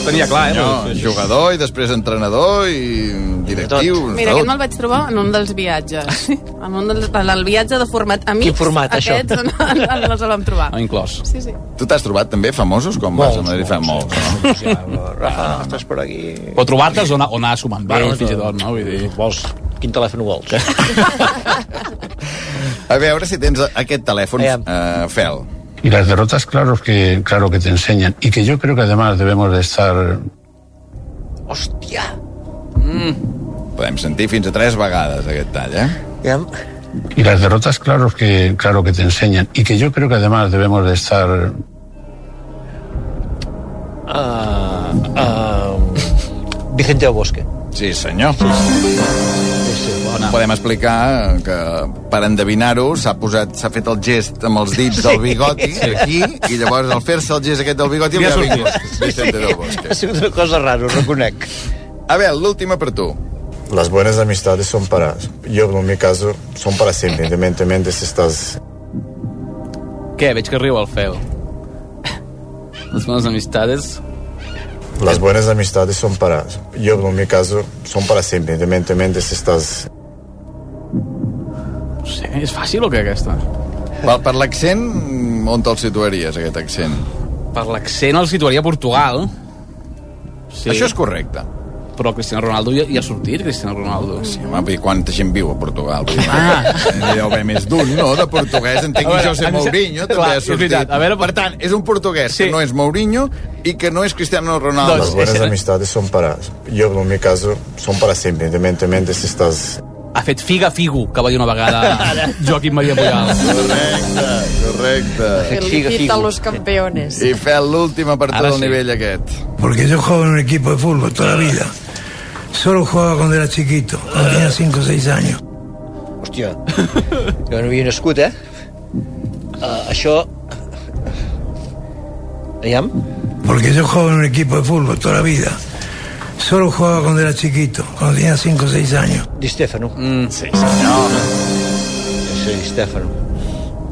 [SPEAKER 6] Tenia clar, eh?
[SPEAKER 1] Senyor, jugador i després entrenador i directiu.
[SPEAKER 5] Mira,
[SPEAKER 1] tot.
[SPEAKER 5] aquest me'l vaig trobar en un dels viatges. En un dels, en el viatge de format amics.
[SPEAKER 1] Quin format, això?
[SPEAKER 5] Aquests, en, en, en, en, el vam trobar.
[SPEAKER 1] Ah, inclòs.
[SPEAKER 5] Sí, sí.
[SPEAKER 1] Tu t'has trobat també famosos com vas a Madrid fa molts, no? Rafa, no
[SPEAKER 4] estàs per aquí.
[SPEAKER 6] O trobar-te'ls o anar, o anar sumant
[SPEAKER 1] Bueno,
[SPEAKER 6] barros, fins i tot, no? Vull dir...
[SPEAKER 4] Vols, quin telèfon vols?
[SPEAKER 1] A veure si tens aquest telèfon, eh, Fel.
[SPEAKER 21] Y las derrotas, claro que, claro que te enseñan. Y que yo creo que además debemos de estar
[SPEAKER 4] Hòstia!
[SPEAKER 1] Podem sentir fins a tres vegades aquest tall, eh?
[SPEAKER 21] Y las derrotas, claro que, claro que te enseñan. Y que yo creo que además debemos de estar
[SPEAKER 4] Uh, uh, Vicente del Bosque.
[SPEAKER 1] Sí, senyor. Bona. Podem explicar que per endevinar-ho s'ha posat s'ha fet el gest amb els dits del bigoti
[SPEAKER 4] Sí.
[SPEAKER 1] aquí i llavors al fer-se el gest aquest del bigoti
[SPEAKER 4] Li
[SPEAKER 1] li
[SPEAKER 4] ha
[SPEAKER 1] ha
[SPEAKER 4] sortit.
[SPEAKER 1] vingut. Vicente del Bosque.
[SPEAKER 4] Ha sigut una cosa rara, ho reconec.
[SPEAKER 1] A veure, l'última per tu.
[SPEAKER 22] Las buenas amistades son para, yo en mi caso, son para siempre, independientemente si estás
[SPEAKER 6] Què? Veig que riu el Fel.
[SPEAKER 21] Las buenas amistades.
[SPEAKER 22] Las buenas amistades son para, yo en mi caso, son para siempre, independientemente si estás...
[SPEAKER 21] No sé, és fàcil o què, aquesta?
[SPEAKER 1] Per, per l'accent, on te'l situaries, aquest accent?
[SPEAKER 6] Per l'accent el situaria a Portugal. Sí.
[SPEAKER 1] Això és correcte.
[SPEAKER 6] Però Cristiano Ronaldo ja, ja ha sortit, Cristiano Ronaldo.
[SPEAKER 1] Sí, home, vull dir, quanta gent viu a Portugal? Vull dir, ah. Deu haver més d'un, no? De portuguès,
[SPEAKER 6] A
[SPEAKER 1] entenc que
[SPEAKER 6] veure,
[SPEAKER 1] José
[SPEAKER 6] em sa-
[SPEAKER 1] Mourinho també
[SPEAKER 6] clar,
[SPEAKER 1] ha
[SPEAKER 6] és
[SPEAKER 1] sortit.
[SPEAKER 6] veritat. A veure,
[SPEAKER 1] per tant, és un portuguès sí. que no és Mourinho i que no és Cristiano Ronaldo.
[SPEAKER 22] Las buenas amistades son para, yo en mi caso, son para siempre, independientemente si estás...
[SPEAKER 6] Ha fet figa figo, que va dir una vegada Joaquim Maria Pujol.
[SPEAKER 1] Correcte, correcte.
[SPEAKER 3] Felicita a los campeones.
[SPEAKER 1] I fet l'última per tot
[SPEAKER 3] Ara sí.
[SPEAKER 1] el nivell aquest.
[SPEAKER 9] Porque yo jugaba en un equipo de fútbol toda la vida. Solo jugaba cuando era chiquito, cuando tenía 5 o 6 años.
[SPEAKER 4] Hòstia, jo no havia nascut, eh? Uh, això... Aviam.
[SPEAKER 9] Porque yo jugaba en un equipo de fútbol toda la vida. Solo jugaba cuando era chiquito, cuando tenía 5 o 6 años.
[SPEAKER 4] Di Stefano. Mm,
[SPEAKER 1] sí, senyor.
[SPEAKER 4] Sí, Di Stefano.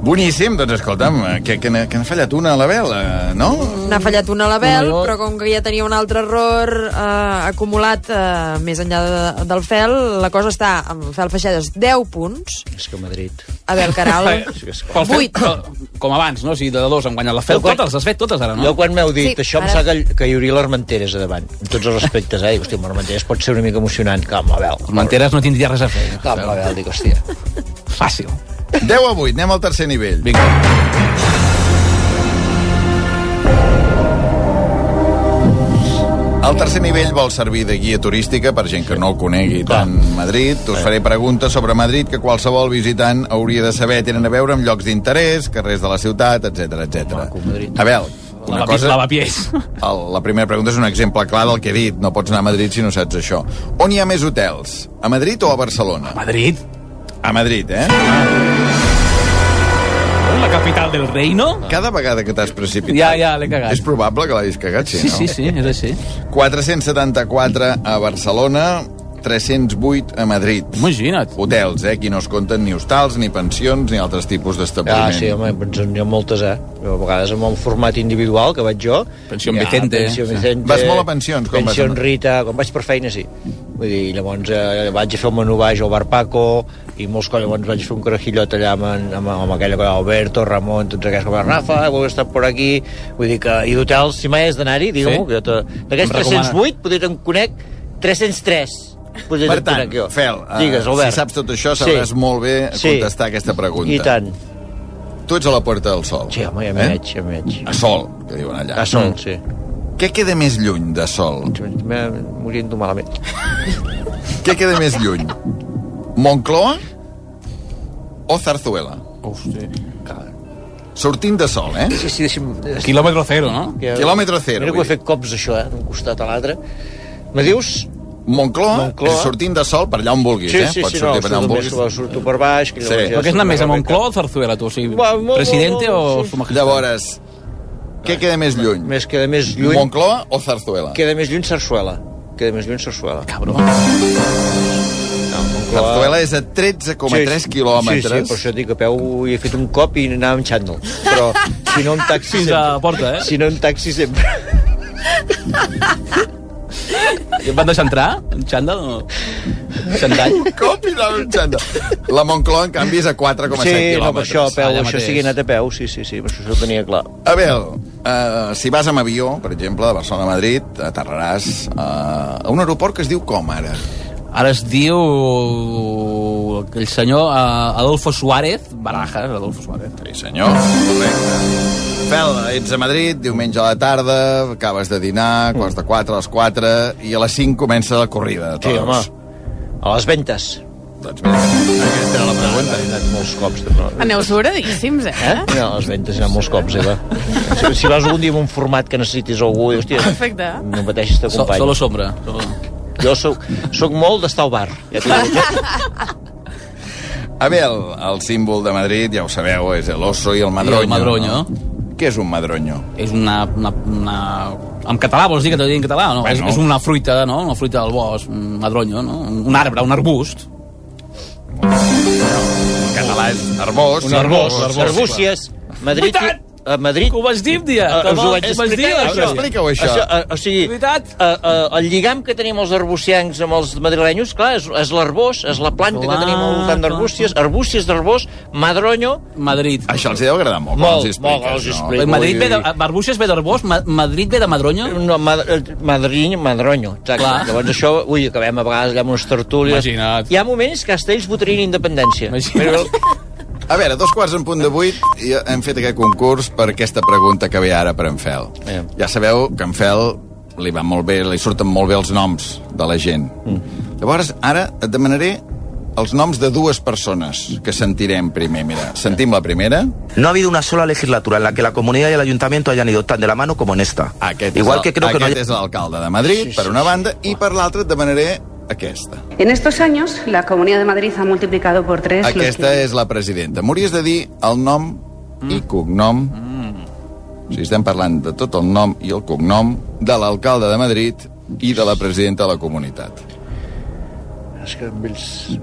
[SPEAKER 1] Boníssim, doncs escolta'm, eh, que, que, n'ha- que n'ha fallat una a la vela, eh, no?
[SPEAKER 3] N'ha fallat un a l'Abel,
[SPEAKER 1] Una, jo-
[SPEAKER 3] però com que ja tenia un altre error eh, acumulat eh, més enllà de, del Fel, la cosa està amb Fel Feixades 10 punts,
[SPEAKER 4] És que Madrid...
[SPEAKER 3] Abel Caral
[SPEAKER 6] Pel fet-
[SPEAKER 3] 8.
[SPEAKER 6] Com abans, no? O sigui, de dos han guanyat la Fel. Totes, les has fet totes ara, no?
[SPEAKER 4] Jo quan m'heu dit
[SPEAKER 6] Sí,
[SPEAKER 4] sí, això em
[SPEAKER 6] ara-
[SPEAKER 4] sap que, que hi hauria l'Armenteres a davant, amb tots els respectes, eh? Dic, Hòstia, amb l'Armenteres pot ser una mica emocionant. Calma, Abel.
[SPEAKER 6] L'Armenteres no tindria res a fer.
[SPEAKER 4] Calma, Abel, dic, hòstia.
[SPEAKER 6] Fàcil.
[SPEAKER 1] 10 a 8, anem al tercer nivell.
[SPEAKER 6] Vinga.
[SPEAKER 1] El tercer nivell vol servir de guia turística per gent que no el conegui tant Madrid. Us faré preguntes sobre Madrid que qualsevol visitant hauria de saber. Tenen a veure amb llocs d'interès, carrers de la ciutat, etc etc. Abel, una
[SPEAKER 6] Lavapi-
[SPEAKER 1] cosa...
[SPEAKER 6] lavapiés.
[SPEAKER 1] El, la primera pregunta és un exemple clar del que he dit. No pots anar a Madrid si no saps això. On hi ha més hotels? A Madrid o a Barcelona? A
[SPEAKER 6] Madrid.
[SPEAKER 1] A Madrid, eh?
[SPEAKER 6] La capital del reino?
[SPEAKER 1] Cada vegada que t'has precipitat...
[SPEAKER 6] Ja, ja, l'he cagat.
[SPEAKER 1] És probable que l'hagis cagat, sí,
[SPEAKER 6] Sí,
[SPEAKER 1] no?
[SPEAKER 6] sí, sí, és així.
[SPEAKER 1] 474 a Barcelona, 308 a Madrid.
[SPEAKER 6] Imagina't.
[SPEAKER 1] Hotels, eh? Aquí no es compten ni hostals, ni pensions, ni altres tipus
[SPEAKER 4] Ah,
[SPEAKER 1] d'establiment.
[SPEAKER 4] sí, home, doncs n'hi ha moltes, eh? Però a vegades amb un format individual que vaig jo...
[SPEAKER 1] Pensión Vicente.
[SPEAKER 4] Pensió
[SPEAKER 1] Sí.
[SPEAKER 4] Vicente.
[SPEAKER 1] Vas molt a pensions, quan vas a
[SPEAKER 4] Pensió
[SPEAKER 1] Madrid?
[SPEAKER 4] Rita, quan vaig per feina, sí. Vull dir, llavors eh, vaig a fer un menú baix al Bar Paco i molts cops, llavors vaig fer un carajillot allà amb, en- amb, amb aquella cosa, Alberto, Ramon, tots aquests com Rafa, heu estat per aquí... Vull dir que... I d'hotels, si mai has d'anar-hi, digue-m'ho,
[SPEAKER 1] Sí.
[SPEAKER 4] que jo te... D'aquests
[SPEAKER 1] Em recomana.
[SPEAKER 4] 308, potser te'n conec 303. Potser
[SPEAKER 1] Per
[SPEAKER 4] te'n
[SPEAKER 1] tant,
[SPEAKER 4] conec jo.
[SPEAKER 1] Fel, eh,
[SPEAKER 4] Digues, Albert.
[SPEAKER 1] si saps tot això, sabràs molt bé contestar aquesta pregunta.
[SPEAKER 4] I tant.
[SPEAKER 1] Tu ets a la Puerta del Sol. Eh?
[SPEAKER 4] Sí, home, ja m'hi veig, ja m'hi veig.
[SPEAKER 1] A Sol, que diuen allà. Mm.
[SPEAKER 4] A Sol, sí.
[SPEAKER 1] Què queda més lluny de Sol?
[SPEAKER 4] Morint-ho malament.
[SPEAKER 1] Què queda més lluny? Moncloa o Zarzuela?
[SPEAKER 6] Hosti.
[SPEAKER 1] Sortint de Sol, eh?
[SPEAKER 4] Sí, sí, deixi'm...
[SPEAKER 6] Kilòmetre cero, no?
[SPEAKER 1] Quilòmetre cero,
[SPEAKER 4] Mira que
[SPEAKER 1] vull
[SPEAKER 4] ho he fet cops, això, eh? D'un costat a l'altre. Me dius...
[SPEAKER 1] Moncloa,
[SPEAKER 4] Moncloa.
[SPEAKER 1] sortint de Sol per allà on vulguis,
[SPEAKER 4] Sí,
[SPEAKER 1] eh?
[SPEAKER 4] sí,
[SPEAKER 1] Pots
[SPEAKER 4] sí,
[SPEAKER 1] sortir
[SPEAKER 4] no,
[SPEAKER 1] per allà on
[SPEAKER 4] surto
[SPEAKER 1] vulguis.
[SPEAKER 4] més, surto per baix, que llavors ja
[SPEAKER 6] Però què és
[SPEAKER 4] surto
[SPEAKER 6] anar més
[SPEAKER 4] per
[SPEAKER 6] a Moncloa o Zarzuela, tu? O sigui,
[SPEAKER 4] Va, mo-
[SPEAKER 6] presidente
[SPEAKER 4] mo-
[SPEAKER 6] o
[SPEAKER 4] sí.
[SPEAKER 6] su majestad?
[SPEAKER 1] Llavors, què queda més lluny?
[SPEAKER 4] Més queda més lluny...
[SPEAKER 1] Moncloa o Zarzuela?
[SPEAKER 4] Queda més lluny Sarsuela. Queda més lluny Sarsuela.
[SPEAKER 6] Cabró.
[SPEAKER 1] Zarzuela és a 13,3
[SPEAKER 4] Sí,
[SPEAKER 1] quilòmetres.
[SPEAKER 4] sí, per això et dic, a peu hi he fet un cop i anava amb xandall. Però si no en taxi...
[SPEAKER 6] Fins a la porta, eh?
[SPEAKER 4] Si no en taxi sempre.
[SPEAKER 6] I et van deixar entrar? En xandall o... Xandall?
[SPEAKER 1] Un cop i anava un xandall. La Moncloa, en canvi, és a 4,7
[SPEAKER 4] Sí,
[SPEAKER 1] quilòmetres.
[SPEAKER 4] no, per això, a peu,
[SPEAKER 1] Allà
[SPEAKER 4] això
[SPEAKER 1] mateix.
[SPEAKER 4] sigui anat a peu, sí, sí, sí, per això ho tenia clar.
[SPEAKER 1] Abel, uh, si vas amb avió, per exemple, de Barcelona a Madrid, aterraràs eh, a un aeroport que es diu com, ara?
[SPEAKER 6] Ara es diu... El senyor eh, Adolfo Suárez Barajas, Adolfo Suárez.
[SPEAKER 1] Sí, senyor. Correcte. Fel, ets a Madrid, diumenge a la tarda, acabes de dinar, quarts de 4, a les 4, i a les 5 comença la corrida. de
[SPEAKER 4] Sí, home.
[SPEAKER 1] toros.
[SPEAKER 4] A les ventes.
[SPEAKER 1] Doncs bé, aquesta era la pregunta.
[SPEAKER 4] He anat molts cops, no?
[SPEAKER 5] Aneu sobradíssims, eh?
[SPEAKER 4] Eh? No, les ventes anar molts cops, Eva. Si, si vas algun dia amb un format que necessitis algú, i, hòstia,
[SPEAKER 5] Perfecte.
[SPEAKER 4] no pateixis, t'acompanyo.
[SPEAKER 6] solo sombra. Solo.
[SPEAKER 4] Jo soc, soc molt d'estar al bar. Ja
[SPEAKER 5] Ah.
[SPEAKER 4] t'ho dic, eh?
[SPEAKER 1] Abel, el símbol de Madrid, ja ho sabeu, és el oso i el madroño.
[SPEAKER 6] I el madroño.
[SPEAKER 1] No? Què és un madroño?
[SPEAKER 6] És una, una, una... En català vols dir que t'ho digui en català? No?
[SPEAKER 1] Bueno.
[SPEAKER 6] Bueno. És, és una fruita, no? Una fruita del bosc, un madronyo, no? Un arbre, un arbust.
[SPEAKER 1] En català és arbós.
[SPEAKER 6] Un arbós,
[SPEAKER 1] arbós,
[SPEAKER 6] arbós.
[SPEAKER 1] arbós.
[SPEAKER 4] Arbúcies, Madrid...
[SPEAKER 6] Veritat!
[SPEAKER 4] a Madrid...
[SPEAKER 6] Ho vas dir un dia,
[SPEAKER 4] Eh,
[SPEAKER 6] que
[SPEAKER 4] us ho
[SPEAKER 6] vol-
[SPEAKER 4] vaig
[SPEAKER 6] ho vas
[SPEAKER 4] explicar,
[SPEAKER 6] dir, això. Explica-ho, això.
[SPEAKER 4] eh, o sigui, eh, eh, el lligam que tenim els arbucians amb els madrilenys, clar, és, és l'arbós, és la planta
[SPEAKER 6] Clar,
[SPEAKER 4] que tenim al voltant d'arbúcies, arbúcies d'arbós, madronyo...
[SPEAKER 6] Madrid.
[SPEAKER 1] Això els deu agradar molt,
[SPEAKER 4] Molt,
[SPEAKER 1] quan
[SPEAKER 4] molt,
[SPEAKER 1] els hi expliques,
[SPEAKER 4] els hi
[SPEAKER 1] no?
[SPEAKER 4] explico.
[SPEAKER 6] Madrid ve de,
[SPEAKER 4] Vull dir-
[SPEAKER 6] Barbuixes ve d'Arbós, Ma- Madrid ve de Madronyo.
[SPEAKER 4] No, mad Madrid, Madronyo, exacte.
[SPEAKER 6] Clar.
[SPEAKER 4] Llavors això, ui, acabem a vegades allà amb unes tertúlies. Imagina't. Hi ha moments que Castells votarien independència. Imagina't.
[SPEAKER 1] A veure, dos quarts en punt de vuit i hem fet aquest concurs per aquesta pregunta que ve ara per en Fel. Ja sabeu que en Fel li va molt bé, li surten molt bé els noms de la gent. Llavors, ara et demanaré els noms de dues persones que sentirem primer. Mira, sentim la primera.
[SPEAKER 7] No ha habido una sola legislatura en la que la comunidad y el ayuntamiento hayan ido tan de la mano como en esta.
[SPEAKER 1] Aquest és
[SPEAKER 7] Igual que creo que no
[SPEAKER 1] aquest
[SPEAKER 7] haya-
[SPEAKER 1] és l'alcalde de Madrid, sí, sí, per una banda, i per l'altra et demanaré aquesta.
[SPEAKER 10] En estos años, la Comunidad de Madrid ha multiplicado por tres los
[SPEAKER 1] Aquesta és la presidenta. M'hauries de dir el nom
[SPEAKER 6] Mm.
[SPEAKER 1] i cognom. O sigui, estem parlant de tot el nom i el cognom de l'alcalde de Madrid i de la presidenta de la comunitat.
[SPEAKER 4] És que amb ells eh,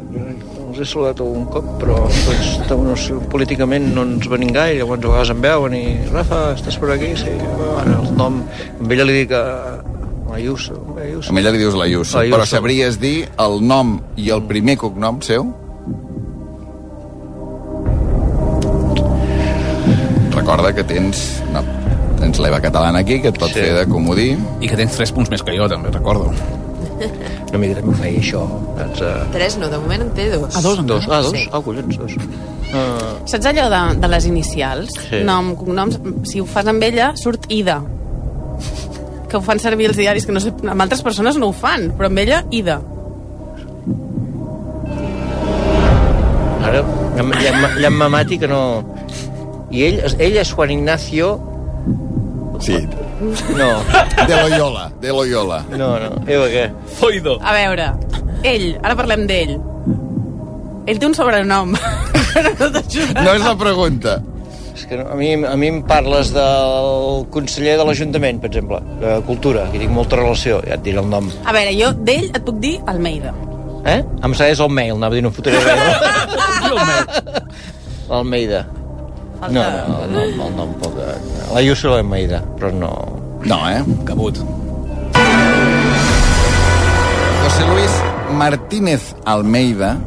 [SPEAKER 4] els he saludat algun cop, però doncs, no sé, políticament no ens venim gaire, llavors a vegades em veuen i Rafa, estàs per aquí? Sí, bueno, el nom... Amb ella li dic a Ayuso. Ayuso.
[SPEAKER 1] Amb ella li dius la Ayuso,
[SPEAKER 4] La Ayuso.
[SPEAKER 1] però sabries dir el nom i el primer cognom seu? Recorda que tens... No, tens l'Eva Catalana aquí, que et pot sí. fer de comodí.
[SPEAKER 6] I que tens tres punts més que jo, també, recordo.
[SPEAKER 4] No m'hi diré que feia això. Doncs, uh...
[SPEAKER 3] Tres no, de moment en té dos.
[SPEAKER 4] Ah, dos, dos, ah, dos.
[SPEAKER 3] Sí.
[SPEAKER 4] Ah, collons, dos. Uh,
[SPEAKER 5] Saps allò de, de les inicials?
[SPEAKER 4] Sí.
[SPEAKER 5] Nom, cognoms, si ho fas amb ella, surt Ida. Que ho fan servir els diaris, que no sé, amb altres persones no ho fan, però amb ella, Ida.
[SPEAKER 4] ara, l'hem mamati que no... I ell, ell és Juan Ignacio...
[SPEAKER 1] Sí.
[SPEAKER 4] No.
[SPEAKER 1] De Loyola, de Loyola.
[SPEAKER 4] No, no. Eva, què?
[SPEAKER 6] Foido.
[SPEAKER 5] A veure, ell, ara parlem d'ell. Ell té un sobrenom.
[SPEAKER 1] No és la pregunta.
[SPEAKER 4] És que no, a, mi, a mi em parles del conseller de l'Ajuntament, per exemple, de Cultura, que hi tinc molta relació, ja et diré el nom.
[SPEAKER 5] A veure, jo d'ell et puc dir Almeida.
[SPEAKER 4] Eh? Em segueix el mail, anava a dir, no em fotré res. L'Almeida. No, no, el nom, el nom poc... eh, La Yusuf Almeida, però no...
[SPEAKER 1] No, eh?
[SPEAKER 6] Cabut.
[SPEAKER 1] José Luis Martínez Almeida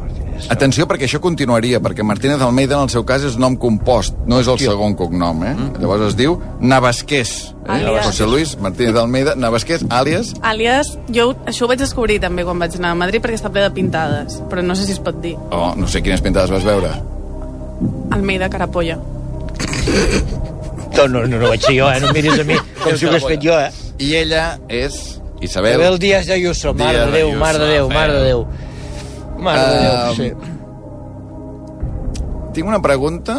[SPEAKER 1] Atenció, perquè això continuaria, perquè Martínez Almeida, en el seu cas, és nom compost, no és el segon cognom, eh? Llavors es diu Navasqués. Eh?
[SPEAKER 5] Alias.
[SPEAKER 1] José Luis Martínez Almeida, Navasqués, àlies...
[SPEAKER 5] Àlies, jo això ho vaig descobrir també quan vaig anar a Madrid perquè està ple de pintades, però no sé si es pot dir.
[SPEAKER 1] Oh, no sé quines pintades vas veure.
[SPEAKER 5] Almeida Carapolla.
[SPEAKER 4] No, no, no, no vaig ser jo, eh? No em miris a mi com si ho hagués fet jo, eh?
[SPEAKER 1] I ella és Isabel...
[SPEAKER 4] Isabel Díaz de Ayuso, mare de Déu, mare de Déu, mare de Déu. Mare de Déu, sí.
[SPEAKER 1] Ah, mm. Tinc una pregunta...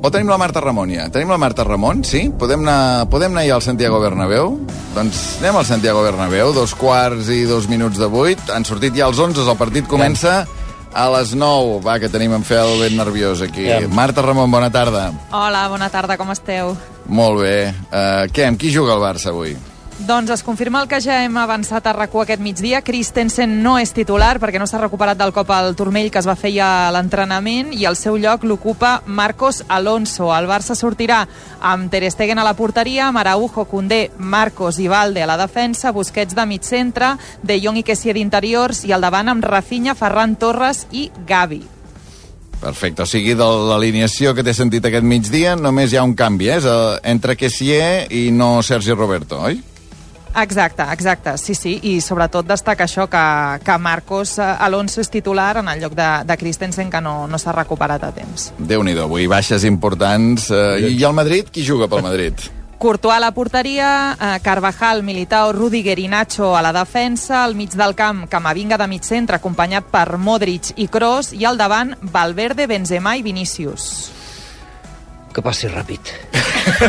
[SPEAKER 1] O tenim la Marta Ramon, ja? Tenim la Marta Ramon, sí? Podem anar, podem anar ja al Santiago Bernabéu? Doncs anem al Santiago Bernabéu, dos quarts i dos minuts de vuit. Han sortit ja els 11, el partit comença a les 9. Va, que tenim en Fel ben nerviós aquí.
[SPEAKER 23] Ja.
[SPEAKER 1] Marta Ramon, bona tarda.
[SPEAKER 23] Hola, bona tarda, com esteu?
[SPEAKER 1] Molt bé. Uh, què, amb qui juga el Barça avui?
[SPEAKER 23] Doncs es confirma el que ja hem avançat a RAC1 aquest migdia. Christensen no és titular perquè no s'ha recuperat del cop al turmell que es va fer ja a l'entrenament i el seu lloc l'ocupa Marcos Alonso. El Barça sortirà amb Ter Stegen a la porteria, amb Araujo, Condé, Marcos i Valde a la defensa, Busquets de mig centre, De Jong i Kessie d'interiors i al davant amb Rafinha, Ferran Torres i Gavi.
[SPEAKER 1] Perfecte, o sigui, de l'alineació que t'he sentit aquest migdia, només hi ha un canvi, eh? És eh, entre Kessier i no Sergi Roberto, oi?
[SPEAKER 23] Exacte, exacte, sí, sí, i sobretot destaca això que, que Marcos eh, Alonso és titular en el lloc de, de Christensen que no, no s'ha recuperat a temps.
[SPEAKER 1] déu nhi avui baixes importants. Eh, i, I el Madrid, qui juga pel Madrid?
[SPEAKER 23] Courtois a la porteria, eh, Carvajal, Militao, Rudiger i Nacho a la defensa, al mig del camp Camavinga de mig centre acompanyat per Modric i Kroos i al davant Valverde, Benzema i Vinícius.
[SPEAKER 4] Que passi ràpid.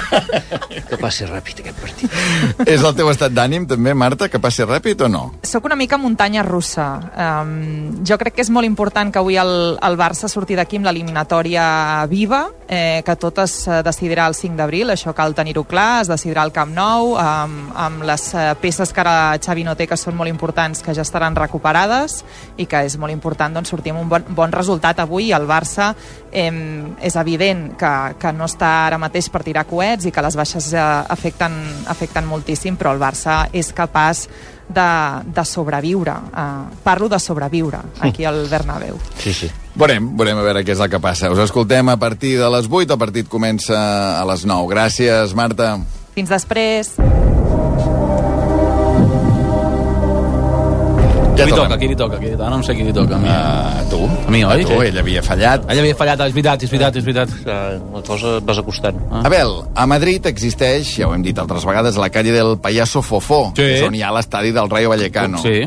[SPEAKER 4] que passi ràpid aquest partit.
[SPEAKER 1] És el teu estat d'ànim, també, Marta, que passi ràpid o no?
[SPEAKER 23] Soc una mica muntanya russa. Um, jo crec que és molt important que avui el, el Barça surti d'aquí amb l'eliminatòria viva, eh, que tot es eh, decidirà el 5 d'abril, això cal tenir-ho clar, es decidirà al Camp Nou, amb, amb les eh, peces que ara Xavi no té, que són molt importants, que ja estaran recuperades, i que és molt important doncs, sortir amb un bon, bon resultat avui. El Barça eh, és evident que, que no està ara mateix per tirar coets, creuets i que les baixes eh, afecten, afecten moltíssim, però el Barça és capaç de, de sobreviure. Eh, parlo de sobreviure aquí al Bernabéu.
[SPEAKER 1] Sí, sí. Veurem, veurem a veure què és el que passa. Us escoltem a partir de les 8, el partit comença a les 9. Gràcies, Marta.
[SPEAKER 23] Fins després.
[SPEAKER 6] Ja qui li toca, qui li toca, qui li toca? No em sé qui li toca. A mi, uh,
[SPEAKER 1] Ah, tu?
[SPEAKER 6] A mi, oi?
[SPEAKER 1] A tu, ell havia fallat.
[SPEAKER 6] Ell havia fallat, és veritat, és veritat, és veritat.
[SPEAKER 4] La cosa et vas acostant.
[SPEAKER 1] Ah. Abel, a Madrid existeix, ja ho hem dit altres vegades, la calle del Payaso Fofó, sí. que és on hi ha l'estadi del Rayo Vallecano.
[SPEAKER 6] Sí.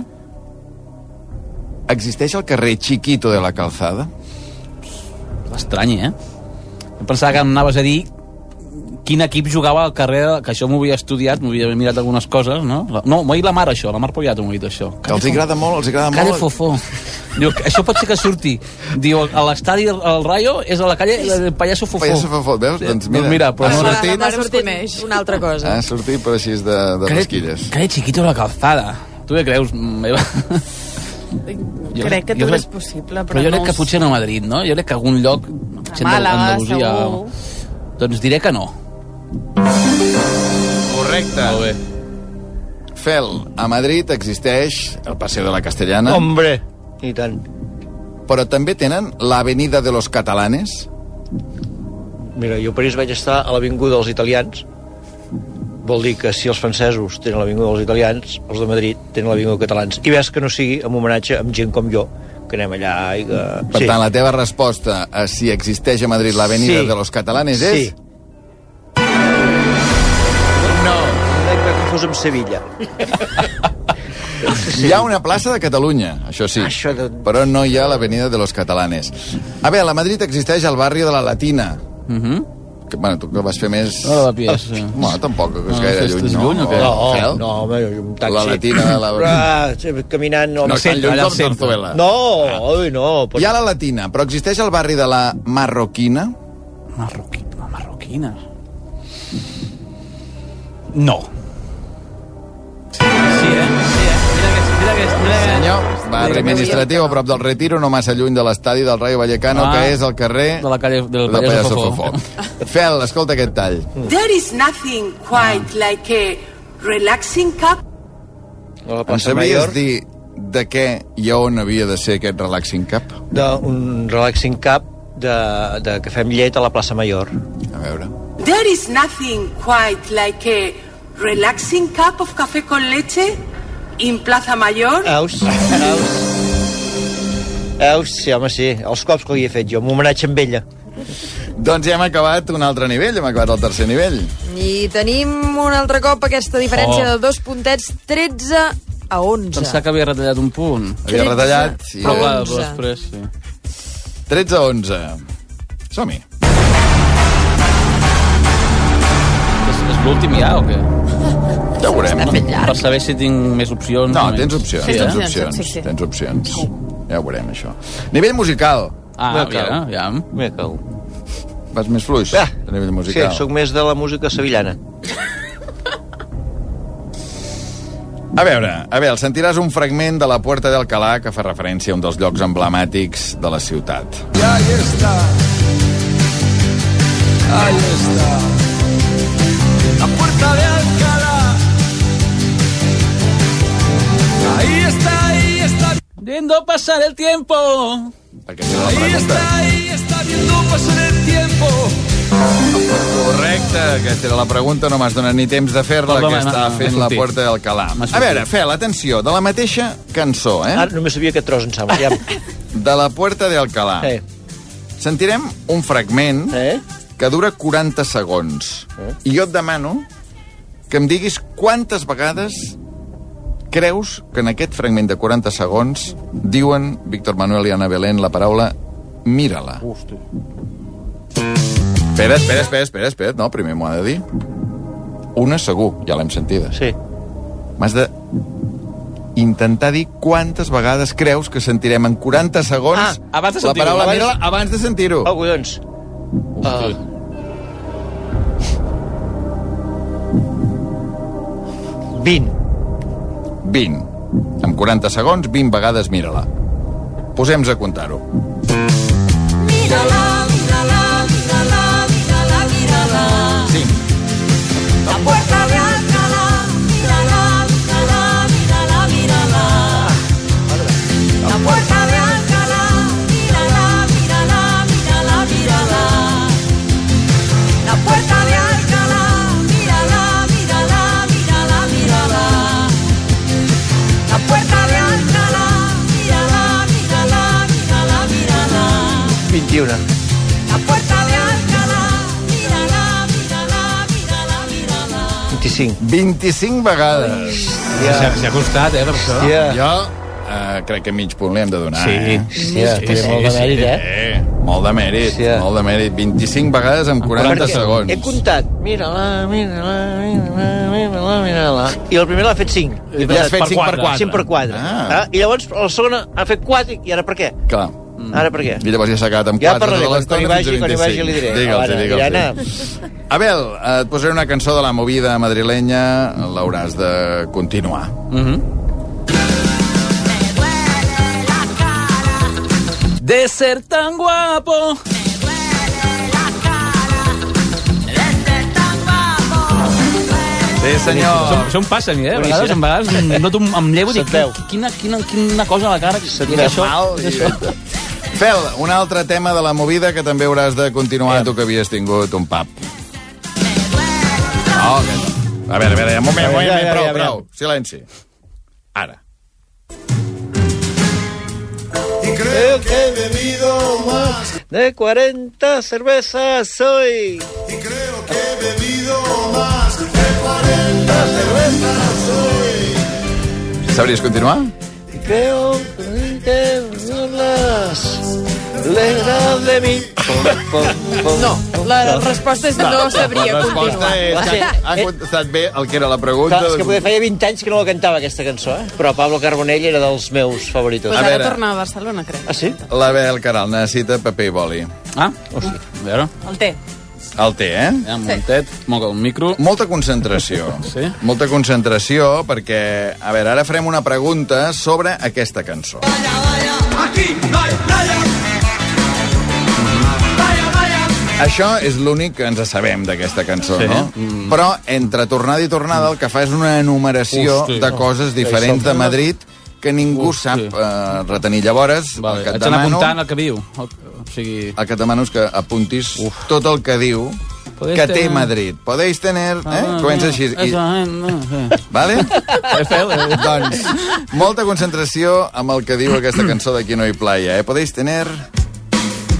[SPEAKER 1] Existeix el carrer Chiquito de la Calzada?
[SPEAKER 6] Estrany, eh? Em pensava que em anaves a dir quin equip jugava al carrer, que això m'ho havia estudiat, m'ho havia mirat algunes coses, no? No, m'ho ha dit la mare, això, la Mar Pollato m'ho ha dit, això.
[SPEAKER 1] Que els hi agrada molt, els hi agrada
[SPEAKER 6] Calle
[SPEAKER 1] molt.
[SPEAKER 6] Fofó. Diu, això pot ser que surti. Diu, a l'estadi el Rayo és a la calle del Pallasso Fofó.
[SPEAKER 1] Payaso Fofó, veus? Doncs mira,
[SPEAKER 6] doncs mira però
[SPEAKER 1] ha
[SPEAKER 6] no...
[SPEAKER 1] sortit,
[SPEAKER 3] M'ha sortit una altra cosa.
[SPEAKER 1] ha
[SPEAKER 6] Ah.
[SPEAKER 1] sortit però així de, de
[SPEAKER 6] Calle-
[SPEAKER 1] les quilles.
[SPEAKER 6] Calle Chiquito de la Calzada. Tu què creus, meva? Jo,
[SPEAKER 5] crec que
[SPEAKER 6] jo
[SPEAKER 5] tot
[SPEAKER 6] crec-
[SPEAKER 5] és possible, però,
[SPEAKER 6] Però jo
[SPEAKER 5] no
[SPEAKER 6] crec que
[SPEAKER 5] ho
[SPEAKER 6] potser no a Madrid, no? Jo crec que algun lloc... potser
[SPEAKER 5] A Màlaga,
[SPEAKER 6] Andalusia.
[SPEAKER 5] segur.
[SPEAKER 6] Doncs diré que no.
[SPEAKER 1] Correcte. Molt bé. Fel, a Madrid existeix el Paseo de la Castellana.
[SPEAKER 4] Hombre. I tant.
[SPEAKER 1] Però també tenen l'Avenida de los Catalanes.
[SPEAKER 4] Mira, jo a París vaig estar a l'Avinguda dels Italians. Vol dir que si els francesos tenen l'Avinguda dels Italians, els de Madrid tenen l'Avinguda dels Catalans. I ves que no sigui en homenatge amb gent com jo, que anem allà i que...
[SPEAKER 1] Per sí. tant, la teva resposta a si existeix a Madrid l'Avenida
[SPEAKER 4] Sí.
[SPEAKER 1] de los Catalanes
[SPEAKER 4] Sí.
[SPEAKER 1] és...
[SPEAKER 4] No, crec que fos amb Sevilla.
[SPEAKER 1] Hi ha una plaça de Catalunya, això sí, això de... però no hi ha l'Avenida de los Catalanes. A veure, a Madrid existeix el barri de la Latina.
[SPEAKER 6] Mhm. Mm
[SPEAKER 1] Que, bueno, tu que vas fer més...
[SPEAKER 6] Ah, la Pies, sí.
[SPEAKER 1] Bueno, tampoc, que és
[SPEAKER 6] Ah,
[SPEAKER 1] gaire
[SPEAKER 6] és-
[SPEAKER 1] lluny.
[SPEAKER 6] és lluny o què?
[SPEAKER 4] No,
[SPEAKER 1] Fel?
[SPEAKER 4] no, home, un taxi.
[SPEAKER 1] La Latina, la-
[SPEAKER 4] Ah, sí, caminant...
[SPEAKER 1] No,
[SPEAKER 4] home,
[SPEAKER 1] no tan lluny
[SPEAKER 4] allà al
[SPEAKER 1] com
[SPEAKER 4] centre.
[SPEAKER 1] Tortoella.
[SPEAKER 4] No, oi, no.
[SPEAKER 1] Hi ha la Latina, però existeix el barri de la Marroquina?
[SPEAKER 6] Marroquina, marroquina. No. eh?
[SPEAKER 1] Senyor, barri administratiu a prop del Retiro, no massa lluny de l'estadi del Rayo Vallecano,
[SPEAKER 6] Ah.
[SPEAKER 1] que és el carrer...
[SPEAKER 6] De la calle del
[SPEAKER 1] del
[SPEAKER 6] Pallasso
[SPEAKER 1] Pallasso
[SPEAKER 6] Fofó.
[SPEAKER 1] Fofó. Fel, escolta aquest tall.
[SPEAKER 6] Mm.
[SPEAKER 8] There is nothing quite like a relaxing cup.
[SPEAKER 4] La
[SPEAKER 1] Em
[SPEAKER 4] plaça
[SPEAKER 1] sabries
[SPEAKER 4] Major.
[SPEAKER 1] dir de què i on havia de ser aquest relaxing cap?
[SPEAKER 4] d'un relaxing cap de, de cafè amb llet a la plaça Major.
[SPEAKER 1] A veure.
[SPEAKER 8] There is nothing quite like a relaxing cup of café con leche in Plaza Mayor.
[SPEAKER 4] Eus, Eus. Eus, sí, home, sí. Els cops que li he fet jo, un homenatge amb ella.
[SPEAKER 1] Doncs ja hem acabat un altre nivell, hem acabat el tercer nivell.
[SPEAKER 3] I tenim un altre cop aquesta diferència
[SPEAKER 1] Oh.
[SPEAKER 3] de dos puntets, 13 a 11.
[SPEAKER 6] Pensava que havia retallat un punt.
[SPEAKER 1] Havia Tretze. retallat i-
[SPEAKER 6] Però clar,
[SPEAKER 1] Onze.
[SPEAKER 6] després, sí.
[SPEAKER 1] 13 a 11. Som-hi.
[SPEAKER 6] És, és l'últim ja o què?
[SPEAKER 1] Ja ho veurem.
[SPEAKER 6] Per saber si tinc més opcions.
[SPEAKER 1] No,
[SPEAKER 6] o menys.
[SPEAKER 1] tens opcions,
[SPEAKER 6] Sí,
[SPEAKER 1] tens
[SPEAKER 6] eh?
[SPEAKER 1] opcions, tens opcions. Ja ho veurem, això. Nivell musical.
[SPEAKER 6] Ah, ja, ja.
[SPEAKER 4] Miracle.
[SPEAKER 1] Vas més fluix,
[SPEAKER 4] Ah.
[SPEAKER 1] a nivell
[SPEAKER 4] Sí,
[SPEAKER 1] musical.
[SPEAKER 4] sóc més de la música sevillana.
[SPEAKER 1] A veure, a veure, sentiràs un fragment de la Puerta d'Alcalà que fa referència a un dels llocs emblemàtics de la ciutat.
[SPEAKER 11] Y ahí está. Ahí está. La puerta de Alcalá. Ahí está, ahí está.
[SPEAKER 6] Viendo pasar el tiempo.
[SPEAKER 11] Ahí está, ahí está viendo pasar el tiempo.
[SPEAKER 1] Correcte, aquesta era la pregunta, no m'has donat ni temps de fer-la,
[SPEAKER 4] Perdona,
[SPEAKER 1] que
[SPEAKER 4] no,
[SPEAKER 1] està
[SPEAKER 4] no,
[SPEAKER 1] fent
[SPEAKER 4] m'ha
[SPEAKER 1] la
[SPEAKER 4] sortit.
[SPEAKER 1] Puerta d'Alcalà.
[SPEAKER 4] M'ha
[SPEAKER 1] A
[SPEAKER 4] sortit.
[SPEAKER 1] veure, Fel, atenció, de la mateixa cançó, eh?
[SPEAKER 4] Ara Ah, només sabia aquest tros, em sembla. Ja.
[SPEAKER 1] De la Puerta d'Alcalà.
[SPEAKER 4] Eh.
[SPEAKER 1] Sentirem un fragment eh? que dura 40 segons. Eh? I jo et demano que em diguis quantes vegades creus que en aquest fragment de 40 segons diuen Víctor Manuel i Ana Belén la paraula mira-la.
[SPEAKER 4] Hosti.
[SPEAKER 1] Espera, espera, espera, espera, espera. No, primer m'ho ha de dir. Una segur, ja l'hem sentida.
[SPEAKER 4] Sí.
[SPEAKER 1] M'has de intentar dir quantes vegades creus que sentirem en 40 segons
[SPEAKER 4] Ah, abans de
[SPEAKER 1] la
[SPEAKER 4] sentir-ho,
[SPEAKER 1] paraula
[SPEAKER 4] abans-
[SPEAKER 1] mira-la abans de sentir-ho.
[SPEAKER 4] Oh, collons. Uh,
[SPEAKER 1] Ah. Oh. 20. 20. En 40 segons, 20 vegades mira-la. Posem-nos a comptar-ho.
[SPEAKER 11] Mírala, mírala, mírala, mírala, mírala.
[SPEAKER 1] 5,
[SPEAKER 4] 21.
[SPEAKER 11] La puerta de Alcalá, mírala, mírala, mírala, mírala.
[SPEAKER 4] 25.
[SPEAKER 1] 25 vegades.
[SPEAKER 6] S'ha s'ha costat, eh, per això.
[SPEAKER 1] Hòstia. Jo eh, crec que mig punt li hem de donar.
[SPEAKER 6] Sí.
[SPEAKER 1] eh?
[SPEAKER 6] Hòstia, té molt de mèrit, eh?
[SPEAKER 1] Sí. Molt de mèrit, molt de mèrit. 25 vegades en 40
[SPEAKER 4] Perquè
[SPEAKER 1] segons.
[SPEAKER 4] He comptat. Mira-la, mira-la, mira-la, mira-la, mira-la. I el primer l'ha fet 5.
[SPEAKER 1] I l'has fet cinc per quatre.
[SPEAKER 4] 5 per 4.
[SPEAKER 1] Ah.
[SPEAKER 4] Ah. I llavors el segon ha fet 4 i ara per què?
[SPEAKER 1] Clar.
[SPEAKER 4] Mm. Ara per què?
[SPEAKER 1] I llavors ja s'ha quedat amb
[SPEAKER 4] Ja
[SPEAKER 1] 4
[SPEAKER 4] parlaré,
[SPEAKER 1] tota
[SPEAKER 4] quan- quan hi
[SPEAKER 1] l'estona fins
[SPEAKER 4] vagi,
[SPEAKER 1] a
[SPEAKER 4] quan hi
[SPEAKER 1] 25.
[SPEAKER 4] vagi li diré.
[SPEAKER 1] Digue'ls,
[SPEAKER 4] Ara,
[SPEAKER 1] digue'ls. Abel, eh, et posaré una cançó de la movida madrilenya, l'hauràs de continuar.
[SPEAKER 6] De ser tan guapo.
[SPEAKER 1] Sí, senyor.
[SPEAKER 6] Això, això em passa a mi, eh? A vegades, a vegades mm, no em, em llevo i dic, quina, quina, quina cosa a la cara. Se't
[SPEAKER 1] veu mal, i- Fel, un altre tema de la movida que també hauràs de continuar, tu que havies tingut un pap. No, que no. A veure, a veure, un moment, un moment,
[SPEAKER 11] Ja, ja, ja,
[SPEAKER 1] prou,
[SPEAKER 11] ja, ja.
[SPEAKER 1] prou. Silenci. Ara.
[SPEAKER 4] Creo que he bebido más de 40 cervezas hoy. Y creo que he bebido más de 40 cervezas hoy.
[SPEAKER 1] Sabries continuar?
[SPEAKER 4] Y creo que las alegras de mí.
[SPEAKER 3] No, la resposta és no sabria
[SPEAKER 1] La resposta
[SPEAKER 3] continuar.
[SPEAKER 1] és que ha contestat bé el que era la pregunta.
[SPEAKER 4] Clar, és que poder feia 20 anys que no la cantava, aquesta cançó, eh? Però Pablo Carbonell era dels meus favoritos.
[SPEAKER 5] Pues ara torna a Barcelona, crec.
[SPEAKER 4] Ah, sí?
[SPEAKER 1] L'Abel Caral necessita paper i boli.
[SPEAKER 6] Ah, hòstia. A veure,
[SPEAKER 5] Mm, El té.
[SPEAKER 1] El té, eh?
[SPEAKER 6] amb un tet, molt el micro.
[SPEAKER 1] Molta concentració.
[SPEAKER 6] Sí?
[SPEAKER 1] Molta concentració, perquè... A veure, ara farem una pregunta sobre aquesta cançó.
[SPEAKER 11] Aquí no hay playa. Vaya, vaya.
[SPEAKER 1] Això és l'únic que ens sabem d'aquesta cançó,
[SPEAKER 6] Sí.
[SPEAKER 1] no?
[SPEAKER 6] Mm.
[SPEAKER 1] Però entre tornada i tornada el que fa és una enumeració
[SPEAKER 6] Hosti.
[SPEAKER 1] de coses diferents de Madrid que ningú sap eh, retenir. Llavors, vale. el que
[SPEAKER 6] Haig
[SPEAKER 1] et
[SPEAKER 6] d'anar
[SPEAKER 1] demano...
[SPEAKER 6] apuntant el que viu. El, o sigui...
[SPEAKER 1] el que et demano és que apuntis Uf. tot el que diu
[SPEAKER 6] Podéis
[SPEAKER 1] que té
[SPEAKER 6] tener-
[SPEAKER 1] Madrid. Podéis tener...
[SPEAKER 6] Ah,
[SPEAKER 1] Eh? Comença així. I,
[SPEAKER 6] eh,
[SPEAKER 1] vale? doncs, molta concentració amb el que diu aquesta cançó de Qui no hi playa. Eh? Podéis tener...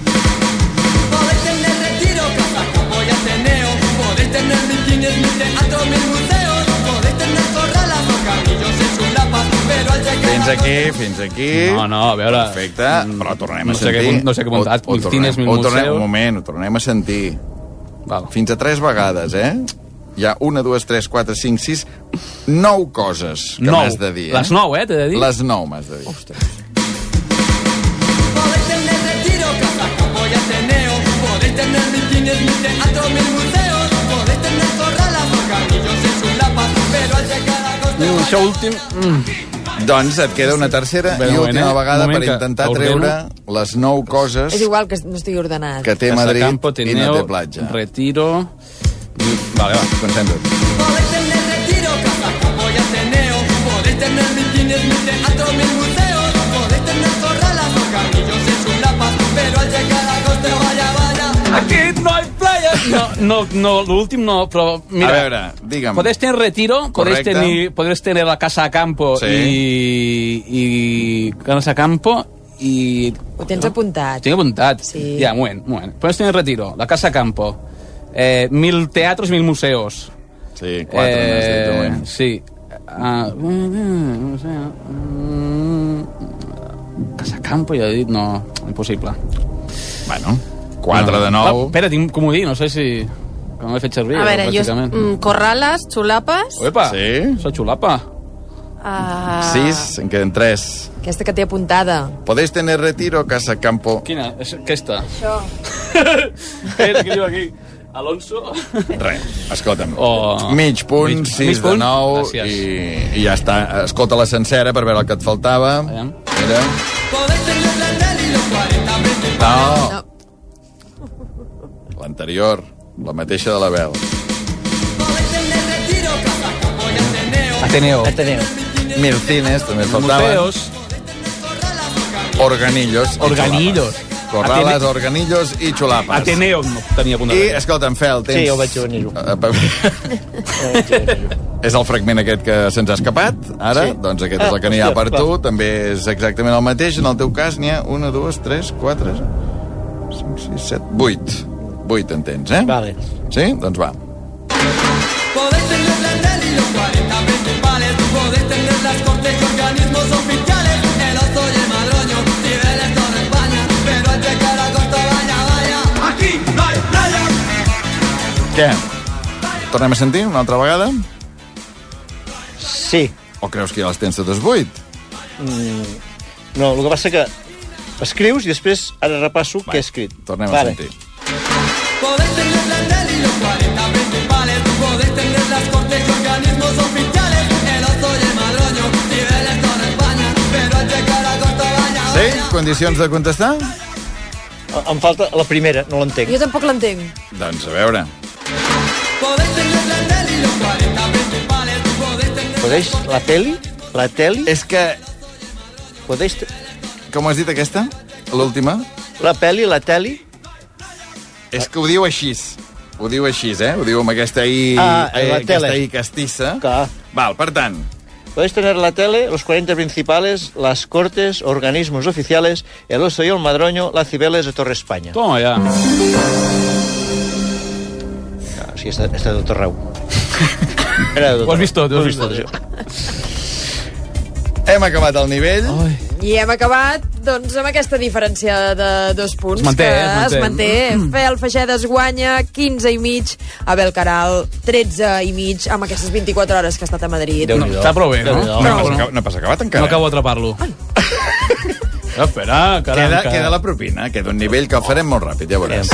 [SPEAKER 11] Podéis tener retiro, casa, como y Ateneo. Podéis tener mis cines, mis teatros, mis museos. Podéis tener corralas o camellos en sus lapas. Pero al llegar
[SPEAKER 1] Fins aquí, fins aquí.
[SPEAKER 6] No, no, a veure... mm,
[SPEAKER 1] Perfecte, però tornem
[SPEAKER 6] no
[SPEAKER 1] a
[SPEAKER 6] sé què-
[SPEAKER 1] sentir.
[SPEAKER 6] no sé què muntat,
[SPEAKER 1] Ho, ho,
[SPEAKER 6] mil cines, mil
[SPEAKER 1] tornem, ho tornem,
[SPEAKER 6] museus.
[SPEAKER 1] un moment, ho tornem a sentir.
[SPEAKER 6] Val.
[SPEAKER 1] Fins a tres vegades, eh? Hi ha una, dues, tres, quatre, cinc, sis, nou coses que
[SPEAKER 6] Nou.
[SPEAKER 1] m'has de dir. Eh?
[SPEAKER 6] Les nou, eh, t'he de dir.
[SPEAKER 1] Les nou m'has de dir.
[SPEAKER 11] Podéis tener retiro, casa, como y Ateneo. Podéis tener mis cines, mis teatros, mis museos. Podéis tener corralas o camellos en sus lapas. Pero al llegar a
[SPEAKER 6] Mm, això últim... Mm.
[SPEAKER 1] Doncs et queda una tercera
[SPEAKER 6] Bé,
[SPEAKER 1] i
[SPEAKER 6] moment,
[SPEAKER 1] última
[SPEAKER 6] eh?
[SPEAKER 1] vegada
[SPEAKER 6] Moment
[SPEAKER 1] per
[SPEAKER 6] que
[SPEAKER 1] intentar
[SPEAKER 6] ordeno.
[SPEAKER 1] treure les nou coses
[SPEAKER 3] És igual que no estigui ordenat.
[SPEAKER 1] que té
[SPEAKER 6] Casa
[SPEAKER 1] Madrid
[SPEAKER 6] Campo,
[SPEAKER 1] i no
[SPEAKER 6] Tineo,
[SPEAKER 1] té platja.
[SPEAKER 6] Retiro... Vale, va.
[SPEAKER 1] Concentra't.
[SPEAKER 11] Podéis tener retiro, casa, como y Ateneo. Podéis tener mis cines, mis teatros, mis museos. Podéis tener corralas o camellos en sus lapas. Pero al llegar a coste, vaya, vaya.
[SPEAKER 6] Aquí no hay playa. No, no, no l'últim no, però mira...
[SPEAKER 1] A veure, digue'm.
[SPEAKER 6] Podés tener retiro, podés
[SPEAKER 1] Correcte.
[SPEAKER 6] tenir, podés tener la casa a campo
[SPEAKER 1] Sí.
[SPEAKER 6] i, i casa a campo i...
[SPEAKER 3] Ho tens apuntat.
[SPEAKER 6] Ho tinc apuntat.
[SPEAKER 3] Sí.
[SPEAKER 6] Ja, un moment, un moment. Podés tener retiro, la casa a campo, eh, mil teatros, mil museos.
[SPEAKER 1] Sí, quatre n'has dit, un moment.
[SPEAKER 6] Eh, Sí. Ah, mm, no sé, mm, casa a campo, ja he dit, no, impossible.
[SPEAKER 1] Bueno, quatre de nou.
[SPEAKER 6] Va, espera, tinc un comodí, no sé si... Que no l'he fet servir,
[SPEAKER 5] A veure, jo...
[SPEAKER 6] pràcticament.
[SPEAKER 5] Mm, corrales, xulapes...
[SPEAKER 6] Uepa,
[SPEAKER 1] Sí?
[SPEAKER 6] Soy xulapa.
[SPEAKER 5] Uh...
[SPEAKER 1] Sis, en queden tres.
[SPEAKER 3] Ah. Aquesta que té apuntada.
[SPEAKER 1] Podéis tener retiro, casa, campo...
[SPEAKER 6] Quina? És aquesta?
[SPEAKER 3] Això.
[SPEAKER 6] Què és que diu aquí? Alonso?
[SPEAKER 1] Res, escolta'm.
[SPEAKER 6] Oh.
[SPEAKER 1] Mig punt,
[SPEAKER 6] Mig-
[SPEAKER 1] mig, sis
[SPEAKER 6] mig
[SPEAKER 1] de
[SPEAKER 6] punt?
[SPEAKER 1] nou,
[SPEAKER 6] Gràcies.
[SPEAKER 1] i, i ja està. Escolta la sencera per veure el que et faltava. Mira.
[SPEAKER 11] Podéis tener la Nel y los 40 principales.
[SPEAKER 1] No. L'anterior, la mateixa de l'Abel.
[SPEAKER 11] Podéis tener retiro, casa, como y Ateneo.
[SPEAKER 6] Ateneo.
[SPEAKER 4] Ateneo.
[SPEAKER 1] Mircines, també faltava.
[SPEAKER 6] Museos.
[SPEAKER 1] Organillos. i
[SPEAKER 6] Organillos.
[SPEAKER 1] xulapes. Corrales,
[SPEAKER 6] Atene-
[SPEAKER 1] organillos i xulapes.
[SPEAKER 6] Ateneo no tenia apuntat.
[SPEAKER 1] I, escolta'm, Fel, tens...
[SPEAKER 4] Sí, jo vaig venir-ho.
[SPEAKER 1] Eh, pa- És el fragment aquest que se'ns ha escapat, ara?
[SPEAKER 4] Sí.
[SPEAKER 1] Doncs aquest
[SPEAKER 4] Ah,
[SPEAKER 1] és el que n'hi ha
[SPEAKER 4] hòstia,
[SPEAKER 1] per
[SPEAKER 4] clar.
[SPEAKER 1] tu, també és exactament el mateix. En el teu cas n'hi ha una, dues, tres, quatre, 5, 6, 7, 8. 8, entens, eh? Vale. Sí? Doncs va.
[SPEAKER 11] Podés tener la NEL y los 40 principales. Podés tener las cortes y organismos oficiales. El oso y el madroño, niveles toda España. Pero al llegar a costa, vaya, vaya. Aquí no hay playa.
[SPEAKER 1] Què? Tornem a sentir una altra vegada?
[SPEAKER 4] Sí.
[SPEAKER 1] O creus que ja les tens totes 8?
[SPEAKER 4] Mm, no, el que passa que escrius i després ara repasso què he escrit.
[SPEAKER 1] Tornem
[SPEAKER 4] Vale.
[SPEAKER 1] a sentir.
[SPEAKER 11] Podés tener la NEL y los 40 principales. Podés tener las cortes y organismos oficiales. El oso y el madroño, niveles toda España. Pero al llegar a costa, vaya, vaya.
[SPEAKER 1] Sí? Condicions de contestar?
[SPEAKER 4] Em falta la primera, no l'entenc.
[SPEAKER 3] Jo tampoc l'entenc.
[SPEAKER 1] Doncs a veure.
[SPEAKER 11] Podés tener la NEL y los 40 principales. Podés tener...
[SPEAKER 4] Podeix la teli? La teli?
[SPEAKER 1] És que...
[SPEAKER 4] Podeix...
[SPEAKER 1] Com has dit aquesta? L'última?
[SPEAKER 4] La peli, la teli?
[SPEAKER 1] És que ho diu així. Ho diu així, eh? Ho diu amb aquesta I,
[SPEAKER 4] Ah,
[SPEAKER 1] eh,
[SPEAKER 4] la tele.
[SPEAKER 1] aquesta I castissa.
[SPEAKER 4] Clar.
[SPEAKER 1] Val, per tant,
[SPEAKER 4] Podéis tener la tele, los 40 principales, las cortes, organismos oficiales, el oso y el madroño, la cibeles de Torre España.
[SPEAKER 6] Toma ja.
[SPEAKER 4] Ah, sí, esta, esta de Doctor Rau. Era de Doctor
[SPEAKER 6] Ho has vist tot, ho has vist
[SPEAKER 4] Rau.
[SPEAKER 6] tot.
[SPEAKER 4] Sí.
[SPEAKER 1] hem acabat el nivell. Ai.
[SPEAKER 3] I hem acabat, doncs, amb aquesta diferència de dos punts.
[SPEAKER 6] Es manté,
[SPEAKER 3] que
[SPEAKER 6] eh? Es
[SPEAKER 3] Es
[SPEAKER 6] manté.
[SPEAKER 3] manté. Fel Feixedes guanya 15 i mig, Abel Caral 13 i mig, amb aquestes 24 hores que ha estat a Madrid.
[SPEAKER 6] No, està prou bé, no?
[SPEAKER 1] No, no, no, no pas acabat
[SPEAKER 6] No
[SPEAKER 1] encara.
[SPEAKER 6] acabo d'atrapar-lo. Espera, caram,
[SPEAKER 1] queda,
[SPEAKER 6] que-
[SPEAKER 1] queda la propina, queda un nivell que el farem molt ràpid, ja veuràs.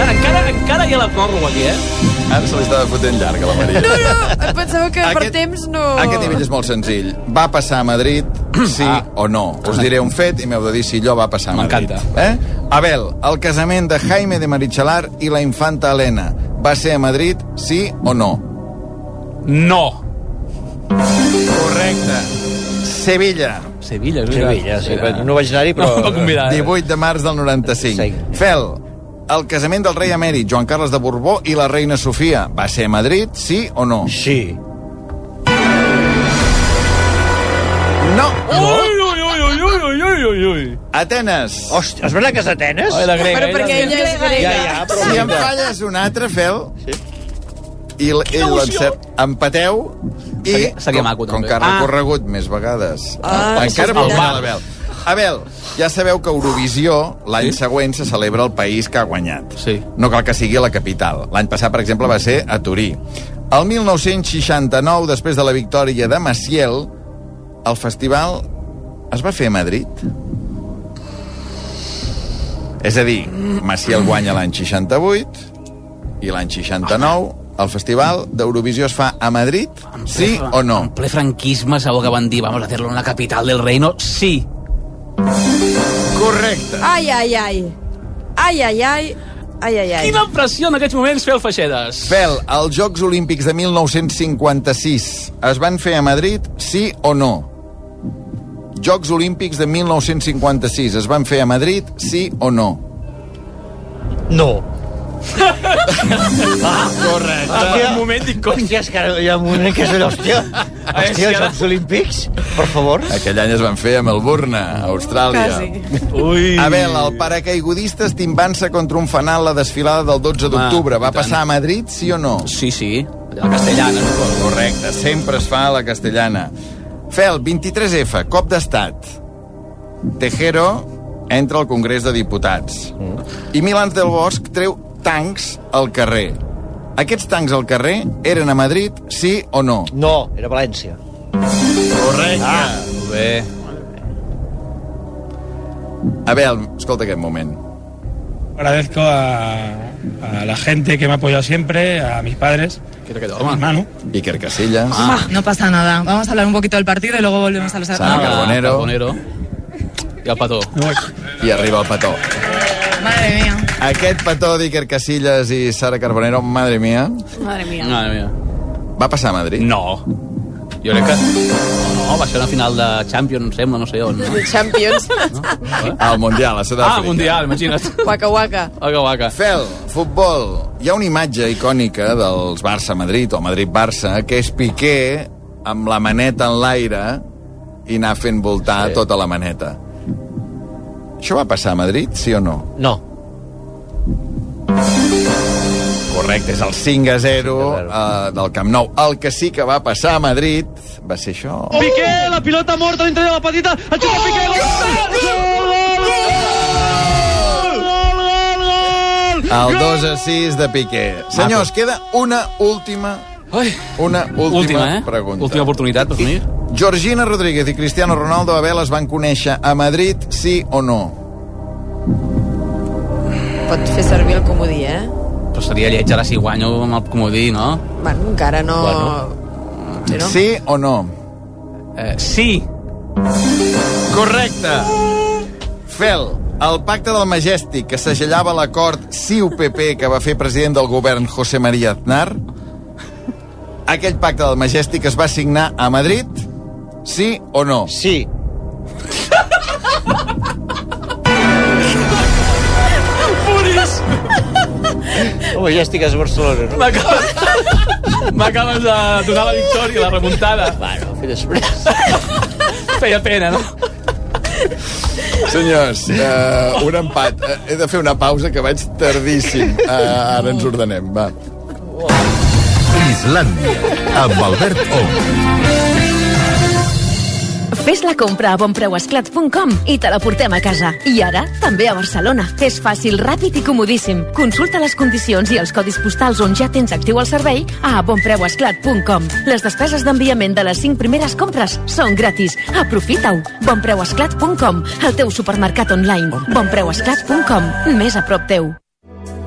[SPEAKER 6] Encara, encara, encara hi ha la pròrroga aquí, eh?
[SPEAKER 1] Ara se li estava fotent llarga, la Maria.
[SPEAKER 3] No, no, em pensava que per
[SPEAKER 1] Aquest-
[SPEAKER 3] temps no...
[SPEAKER 1] Aquest nivell és molt senzill. Va passar a Madrid, sí ah. o no. Us diré un fet i m'heu de dir si allò va passar a Madrid.
[SPEAKER 6] M'encanta.
[SPEAKER 1] Eh? Abel, el casament de Jaime de Marichalar i la infanta Helena. Va ser a Madrid, sí o no?
[SPEAKER 6] No.
[SPEAKER 1] Correcte. Sevilla.
[SPEAKER 6] Sevilla, és veritat.
[SPEAKER 4] Sevilla, sí, però no vaig anar-hi, però...
[SPEAKER 6] No, va convidar.
[SPEAKER 1] 18 de març del 95. Fel, el casament del rei emèrit Joan Carles de Borbó i la reina Sofia va ser a Madrid, sí o no?
[SPEAKER 4] Sí.
[SPEAKER 1] No.
[SPEAKER 6] Ui, ui, ui, ui, ui, ui, ui, ui, ui.
[SPEAKER 1] Atenes.
[SPEAKER 4] Hòstia, és veritat que és Atenes?
[SPEAKER 6] Ai, la grega, Però eh, perquè la
[SPEAKER 3] grega. ella és grega.
[SPEAKER 4] Ja, ja, però...
[SPEAKER 1] Si
[SPEAKER 4] mira.
[SPEAKER 1] em falles un altre, Fel, i l- i l'encert, empateu, i
[SPEAKER 6] Seria- seria
[SPEAKER 1] com,
[SPEAKER 6] maco,
[SPEAKER 1] com
[SPEAKER 6] també.
[SPEAKER 1] que ha
[SPEAKER 6] Ah.
[SPEAKER 1] recorregut més vegades,
[SPEAKER 3] Ah,
[SPEAKER 1] encara
[SPEAKER 3] sí,
[SPEAKER 1] pot
[SPEAKER 3] sí,
[SPEAKER 1] guanyar
[SPEAKER 3] sí.
[SPEAKER 1] l'Abel. Abel, ja sabeu que Eurovisió l'any següent se celebra al país que ha guanyat.
[SPEAKER 6] Sí.
[SPEAKER 1] No cal que sigui a la capital. L'any passat, per exemple, va ser a Turí. El 1969, després de la victòria de Maciel, el festival es va fer a Madrid. És a dir, Maciel guanya l'any 68 i l'any 69 el festival d'Eurovisió es fa a Madrid, sí o no?
[SPEAKER 6] En ple franquisme, sabó que van dir, vamos a hacerlo en la capital del reino, sí.
[SPEAKER 1] Correcte.
[SPEAKER 3] Ai, ai, ai. Ai, ai, ai. Ai, ai, Ah. ai.
[SPEAKER 6] Quina pressió en aquests moments fer el Feixedes.
[SPEAKER 1] Fel, els Jocs Olímpics de 1956 es van fer a Madrid, sí o no? Jocs Olímpics de 1956 es van fer a Madrid, sí o no?
[SPEAKER 4] No.
[SPEAKER 6] Correcte. Ah,
[SPEAKER 4] Hòstia.
[SPEAKER 6] un moment, dic, Ah, cony.
[SPEAKER 4] Hòstia, és que ara hi ha un moment que és allò, hòstia. Hòstia, els Jocs Olímpics, per favor.
[SPEAKER 1] Aquell any es van fer a Melbourne, a Austràlia.
[SPEAKER 6] Ui.
[SPEAKER 1] Abel, el paracaigudista estimbant-se contra un fanal la desfilada del 12
[SPEAKER 6] Home,
[SPEAKER 1] d'octubre. Va
[SPEAKER 6] i tant.
[SPEAKER 1] passar a Madrid, Ah, sí o no?
[SPEAKER 6] Sí, sí, la castellana. suposo.
[SPEAKER 1] Correcte, sempre es fa a la castellana. Fel, 23F, cop d'estat. Tejero entra al Congrés de Diputats.
[SPEAKER 4] Mm.
[SPEAKER 1] I Milans del Bosch treu tancs al carrer. Aquests tancs al carrer eren a Madrid, sí o no?
[SPEAKER 4] No, era València.
[SPEAKER 1] Correcte. Ah.
[SPEAKER 6] Molt Bé.
[SPEAKER 1] Abel, escolta aquest moment.
[SPEAKER 2] Agradezco a, a la gente que me ha apoyado siempre, a mis padres,
[SPEAKER 6] Qui era aquest
[SPEAKER 2] a mi
[SPEAKER 6] home?
[SPEAKER 2] hermano.
[SPEAKER 1] Iker Casillas,
[SPEAKER 6] Ah,
[SPEAKER 23] No pasa nada. Vamos a hablar un poquito del partido y luego volvemos a los
[SPEAKER 1] Sara Carbonero,
[SPEAKER 6] Carbonero. I el petó.
[SPEAKER 2] Me voy.
[SPEAKER 1] i arriba el petó.
[SPEAKER 23] Madre mía.
[SPEAKER 1] Aquest petó d'Iker Casillas i Sara Carbonero, madre mia,
[SPEAKER 5] Madre mía.
[SPEAKER 6] No, mira.
[SPEAKER 1] va passar a Madrid?
[SPEAKER 6] No. Jo crec que... No, no, va ser una final de Champions, sembla, no sé on. No?
[SPEAKER 3] Champions.
[SPEAKER 1] Al Mundial, a Sud-àfrica.
[SPEAKER 6] Ah, Mundial, imagina't.
[SPEAKER 3] Waka, waka.
[SPEAKER 1] Oh,
[SPEAKER 6] Vaca, vaca.
[SPEAKER 1] Fel, futbol. Hi ha una imatge icònica dels Barça-Madrid o Madrid-Barça que és Piqué amb la maneta en l'aire i anar fent voltar sí. tota la maneta. Això va passar a Madrid, sí o no?
[SPEAKER 12] No.
[SPEAKER 1] Correcte, és el 5 a 0 eh, del Camp Nou. El que sí que va passar a Madrid va ser això.
[SPEAKER 11] Oh. Piqué, la pilota morta dintre de la petita, el xuta Piqué, gol!
[SPEAKER 1] El 2 a 6 de Piqué. Senyors, queda una última... Una última,
[SPEAKER 6] Última, eh?
[SPEAKER 1] pregunta.
[SPEAKER 6] Última oportunitat per mi.
[SPEAKER 1] Georgina Rodríguez i Cristiano Ronaldo Abel es van conèixer a Madrid, sí o no?
[SPEAKER 3] Pot fer servir el comodí, eh?
[SPEAKER 6] Però seria lleig ara si guanyo amb el comodí, no?
[SPEAKER 3] Bueno, encara no... Sí, no?
[SPEAKER 1] Sí o no?
[SPEAKER 6] Eh, sí.
[SPEAKER 1] Correcte. Fel, el pacte del Majestic que segellava l'acord CiU-PP que va fer president del govern José María Aznar, aquell pacte del Majestic es va signar a Madrid, sí o no?
[SPEAKER 4] Sí.
[SPEAKER 11] Bonis!
[SPEAKER 4] Home, ja estic a Barcelona, no?
[SPEAKER 6] M'acabes de donar la victòria, la remuntada.
[SPEAKER 4] Bueno, fer després.
[SPEAKER 6] Feia pena, no?
[SPEAKER 1] Senyors, uh, un empat. Uh, he de fer una pausa que vaig tardíssim. Uh, ara ens ordenem, va. Islàndia, amb Albert Ong.
[SPEAKER 13] Fes la compra a bonpreuesclat.com i te la portem a casa. I ara, també a Barcelona. És fàcil, ràpid i comodíssim. Consulta les condicions i els codis postals on ja tens actiu el servei a bonpreuesclat.com. Les despeses d'enviament de les 5 primeres compres són gratis. Aprofita-ho. bonpreuesclat.com, el teu supermercat online. bonpreuesclat.com, més a prop teu.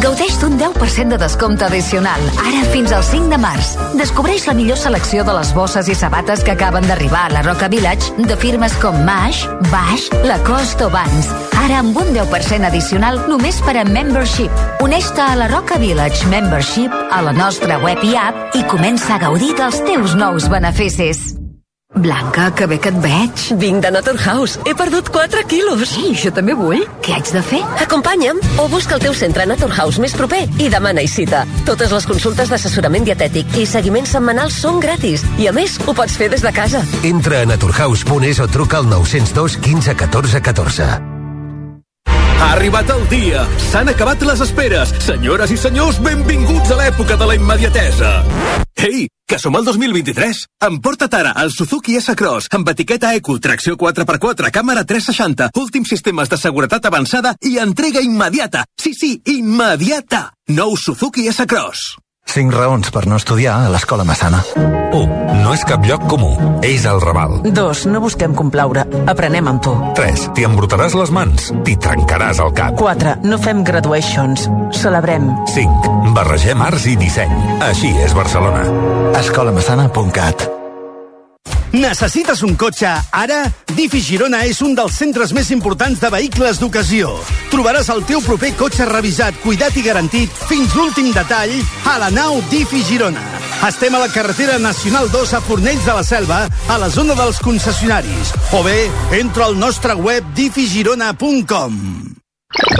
[SPEAKER 24] Gaudeix d'un 10% de descompte addicional, ara fins al 5 de març. Descobreix la millor selecció de les bosses i sabates que acaben d'arribar a la Roca Village de firmes com Mash, Bash, Lacoste o Vans. Ara amb un 10% addicional només per a Membership. Uneix-te a la Roca Village Membership a la nostra web i app i comença a gaudir dels teus nous beneficis.
[SPEAKER 13] Blanca, que bé que et veig. Vinc de Naturhaus. He perdut 4 quilos. Ei, jo també vull. Què haig de fer?
[SPEAKER 24] Acompanya'm o busca el teu centre Naturhaus més proper i demana i cita. Totes les consultes d'assessorament dietètic i seguiment setmanal són gratis i, a més, ho pots fer des de casa.
[SPEAKER 25] Entra a naturhaus.es o truca al 902 15 14 14.
[SPEAKER 26] Ha arribat el dia. S'han acabat les esperes. Senyores i senyors, benvinguts a l'època de la immediatesa. Ei, que som al 2023. Emporta't ara el Suzuki S-Cross amb etiqueta Eco, tracció 4x4, càmera 360, últims sistemes de seguretat avançada i entrega immediata. Sí, sí, immediata. Nou Suzuki S-Cross.
[SPEAKER 25] 5 raons per no estudiar a l'escola Massana. 1. No és cap lloc comú. És el Raval.
[SPEAKER 27] 2. No busquem complaure. Aprenem amb tu.
[SPEAKER 25] 3. T'hi embrutaràs les mans. T'hi trencaràs el cap.
[SPEAKER 27] 4. No fem graduations. Celebrem.
[SPEAKER 25] 5. Barregem arts i disseny. Així és Barcelona. escolamassana.cat
[SPEAKER 28] Necessites un cotxe ara? Difi Girona és un dels centres més importants de vehicles d'ocasió. Trobaràs el teu proper cotxe revisat, cuidat i garantit fins l'últim detall a la nau Difi Girona. Estem a la carretera Nacional 2 a Fornells de la Selva, a la zona dels concessionaris. O bé, entra al nostre web diffigirona.com.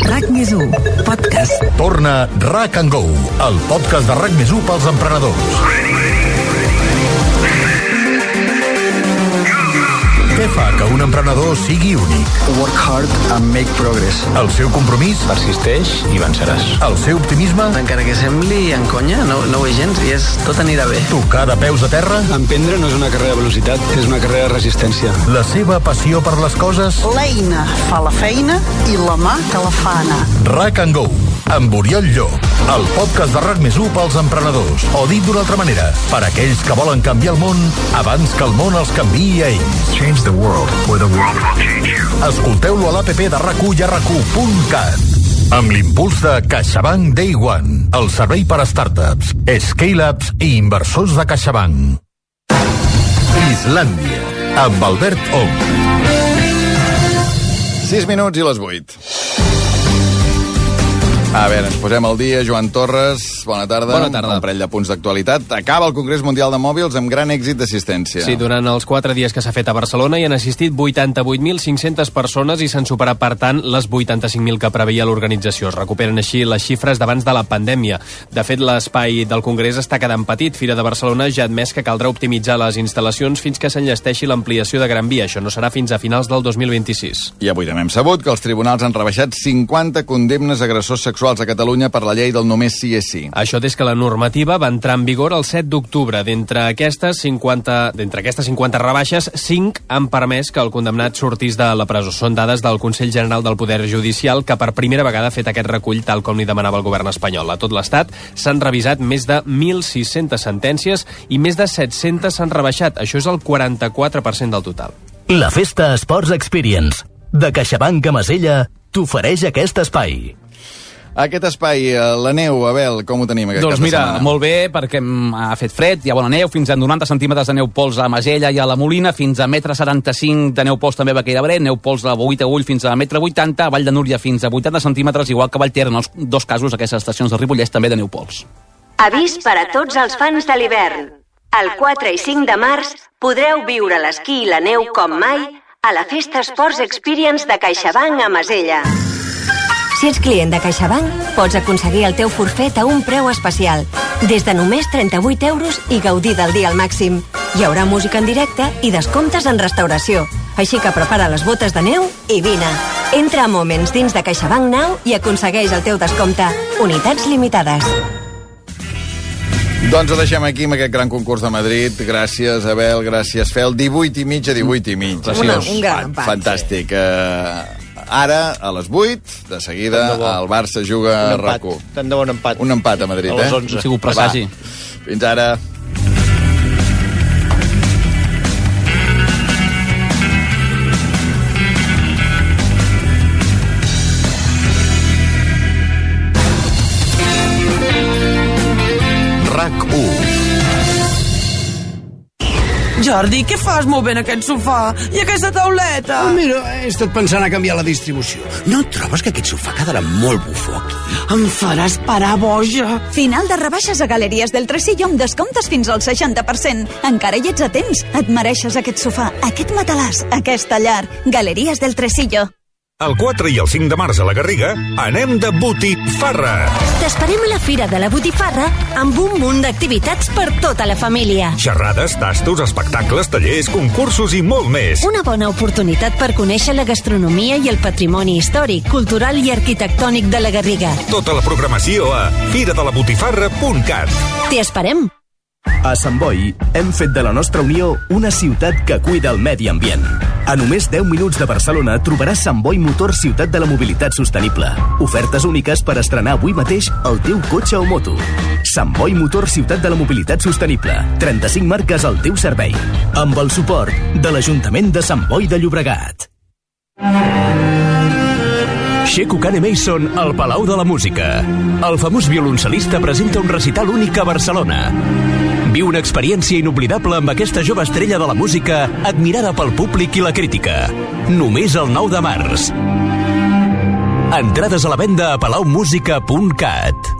[SPEAKER 29] RAC més 1, podcast.
[SPEAKER 25] Torna RAC and Go, el podcast de RAC més 1 pels emprenedors. Què fa que un emprenedor sigui únic? Work hard and make progress. El seu compromís? Persisteix i venceràs. El seu optimisme? Encara que sembli en conya, no, no ho és gens, i és tot anirà bé. Tocar de peus a terra? Emprendre no és una carrera de velocitat, és una carrera de resistència. La seva passió per les coses?
[SPEAKER 30] L'eina fa la feina i la mà te la fa anar.
[SPEAKER 25] RAC and Go, amb Oriol Llop. El podcast de RAC més 1 pels emprenedors. O dit d'una altra manera, per aquells que volen canviar el món abans que el món els canviï a ells. Change the world, or the world will change you. Escolteu-lo a l'APP de rac i a rac1.cat. Amb l'impuls de CaixaBank Day One, el servei per a startups, scale-ups i inversors de CaixaBank. Islàndia, amb Albert Ong.
[SPEAKER 1] 6 minuts i les 8. A veure, ens posem al dia. Joan Torres, bona tarda.
[SPEAKER 9] Bona tarda.
[SPEAKER 1] Un parell de punts d'actualitat. Acaba el Congrés Mundial de Mòbils amb gran èxit d'assistència.
[SPEAKER 9] Sí, durant els 4 dies que s'ha fet a Barcelona hi han assistit 88.500 persones i s'han superat, per tant, les 85.000 que preveia l'organització. Es recuperen així les xifres d'abans de la pandèmia. De fet, l'espai del Congrés està quedant petit. Fira de Barcelona ja ha admès que caldrà optimitzar les instal·lacions fins que s'enllesteixi l'ampliació de Gran Via. Això no serà fins a finals del 2026.
[SPEAKER 1] I avui també hem sabut que els tribunals han rebaixat 50 condemnes a agressors sexuals a Catalunya per la llei del només sí és sí.
[SPEAKER 9] Això des que la normativa va entrar en vigor el 7 d'octubre. D'entre aquestes 50, d'entre aquestes 50 rebaixes, 5 han permès que el condemnat sortís de la presó. Són dades del Consell General del Poder Judicial que per primera vegada ha fet aquest recull tal com li demanava el govern espanyol. A tot l'estat s'han revisat més de 1.600 sentències i més de 700 s'han rebaixat. Això és el 44% del total.
[SPEAKER 12] La Festa Esports Experience de CaixaBank a Masella t'ofereix aquest espai.
[SPEAKER 1] Aquest espai, eh, la neu, Abel, com ho tenim aquest
[SPEAKER 6] Doncs
[SPEAKER 1] cap de
[SPEAKER 6] mira,
[SPEAKER 1] setmana?
[SPEAKER 6] molt bé, perquè mm, ha fet fred, hi ha bona neu, fins a 90 centímetres de neu pols a Masella i a la Molina, fins a metre 75 de neu pols també a Baqueira Bret, neu pols de Boguit a Ull fins a metre 80, a Vall de Núria fins a 80 centímetres, igual que a Vallter, en els dos casos, aquestes estacions de Ripollès també de neu pols.
[SPEAKER 15] Avís per a tots els fans de l'hivern. El 4 i 5 de març podreu viure l'esquí i la neu com mai a la Festa Sports Experience de CaixaBank a Masella.
[SPEAKER 16] Si ets client de CaixaBank, pots aconseguir el teu forfet a un preu especial. Des de només 38 euros i gaudir del dia al màxim. Hi haurà música en directe i descomptes en restauració. Així que prepara les botes de neu i vine. Entra a Moments dins de CaixaBank Now i aconsegueix el teu descompte. Unitats limitades.
[SPEAKER 1] Doncs ho deixem aquí amb aquest gran concurs de Madrid. Gràcies, Abel, gràcies, Fel. 18 i mitja, 18 i mitja.
[SPEAKER 3] Una- un gran empat,
[SPEAKER 1] Fantàstic. Eh, ara, a les 8, de seguida,
[SPEAKER 4] Tant de bo.
[SPEAKER 1] el Barça juga
[SPEAKER 4] Un
[SPEAKER 1] a
[SPEAKER 4] empat.
[SPEAKER 1] RAC1.
[SPEAKER 4] Tant de bon empat.
[SPEAKER 1] Un empat a Madrid,
[SPEAKER 4] A les
[SPEAKER 1] eh?
[SPEAKER 4] 11.
[SPEAKER 1] Ha
[SPEAKER 4] sigut presagi.
[SPEAKER 1] Va. Fins ara.
[SPEAKER 27] Jordi, què fas movent aquest sofà i aquesta tauleta?
[SPEAKER 17] Ah, mira, he estat pensant a canviar la distribució. No trobes que aquest sofà quedarà molt bufó aquí? Em faràs parar boja.
[SPEAKER 18] Final de rebaixes a Galeries del Tresillo amb descomptes fins al 60%. Encara hi ets a temps. Et mereixes aquest sofà, aquest matalàs, aquesta llar. Galeries del Tresillo.
[SPEAKER 19] El 4 i el 5 de març a la Garriga anem de botifarra.
[SPEAKER 20] T'esperem a la Fira de la Botifarra amb un munt d'activitats per tota la família.
[SPEAKER 19] Xerrades, tastos, espectacles, tallers, concursos i molt més.
[SPEAKER 20] Una bona oportunitat per conèixer la gastronomia i el patrimoni històric, cultural i arquitectònic de la Garriga.
[SPEAKER 19] Tota la programació a firadelabotifarra.cat.
[SPEAKER 20] T'hi esperem.
[SPEAKER 21] A Sant Boi hem fet de la nostra unió una ciutat que cuida el medi ambient. A només 10 minuts de Barcelona trobaràs Sant Boi Motor Ciutat de la Mobilitat Sostenible. Ofertes úniques per estrenar avui mateix el teu cotxe o moto. Sant Boi Motor Ciutat de la Mobilitat Sostenible. 35 marques al teu servei. Amb el suport de l'Ajuntament de Sant Boi de Llobregat.
[SPEAKER 22] Sheku Kane Mason al Palau de la Música. El famós violoncel·lista presenta un recital únic a Barcelona. Viu una experiència inoblidable amb aquesta jove estrella de la música admirada pel públic i la crítica. Només el 9 de març. Entrades a la venda a palaumusica.cat.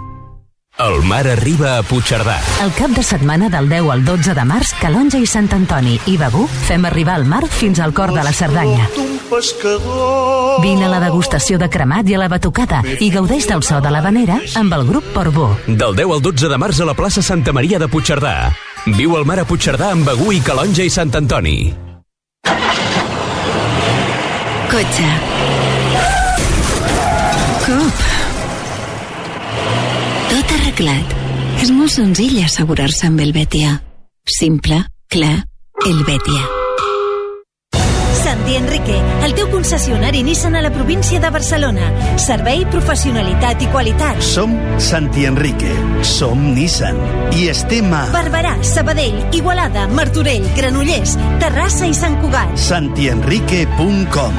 [SPEAKER 22] El mar arriba a Puigcerdà.
[SPEAKER 13] El cap de setmana del 10 al 12 de març, Calonja i Sant Antoni i Begur fem arribar al mar fins al cor de la Cerdanya. Vine a la degustació de cremat i a la batucada i gaudeix del so de la vanera amb el grup Portbó.
[SPEAKER 22] Del 10 al 12 de març a la plaça Santa Maria de Puigcerdà. Viu el mar a Puigcerdà amb Begú i Calonja i Sant Antoni.
[SPEAKER 31] Cotxe. Cop. Tot arreglat. És molt senzill assegurar-se amb el Betia. Simple, clar, el Betia.
[SPEAKER 20] Santi Enrique, el teu concessionari Nissan a la província de Barcelona. Servei, professionalitat i qualitat.
[SPEAKER 29] Som Santi Enrique, som Nissan i estem a
[SPEAKER 20] Barberà, Sabadell, Igualada, Martorell, Granollers, Terrassa i Sant Cugat.
[SPEAKER 29] santienrique.com.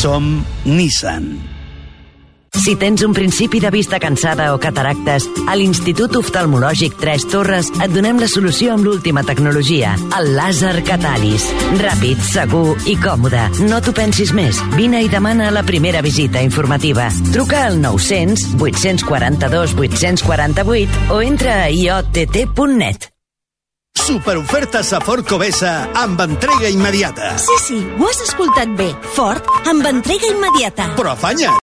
[SPEAKER 29] Som Nissan.
[SPEAKER 2] Si tens un principi de vista cansada o cataractes, a l'Institut Oftalmològic Tres Torres et donem la solució amb l'última tecnologia, el làser Catalis. Ràpid, segur i còmode. No t'ho pensis més. Vine i demana la primera visita informativa. Truca al 900 842 848 o entra a iott.net.
[SPEAKER 28] Superofertes a Ford Covesa amb entrega immediata.
[SPEAKER 32] Sí, sí, ho has escoltat bé. Ford, amb entrega immediata.
[SPEAKER 28] Però afanya't!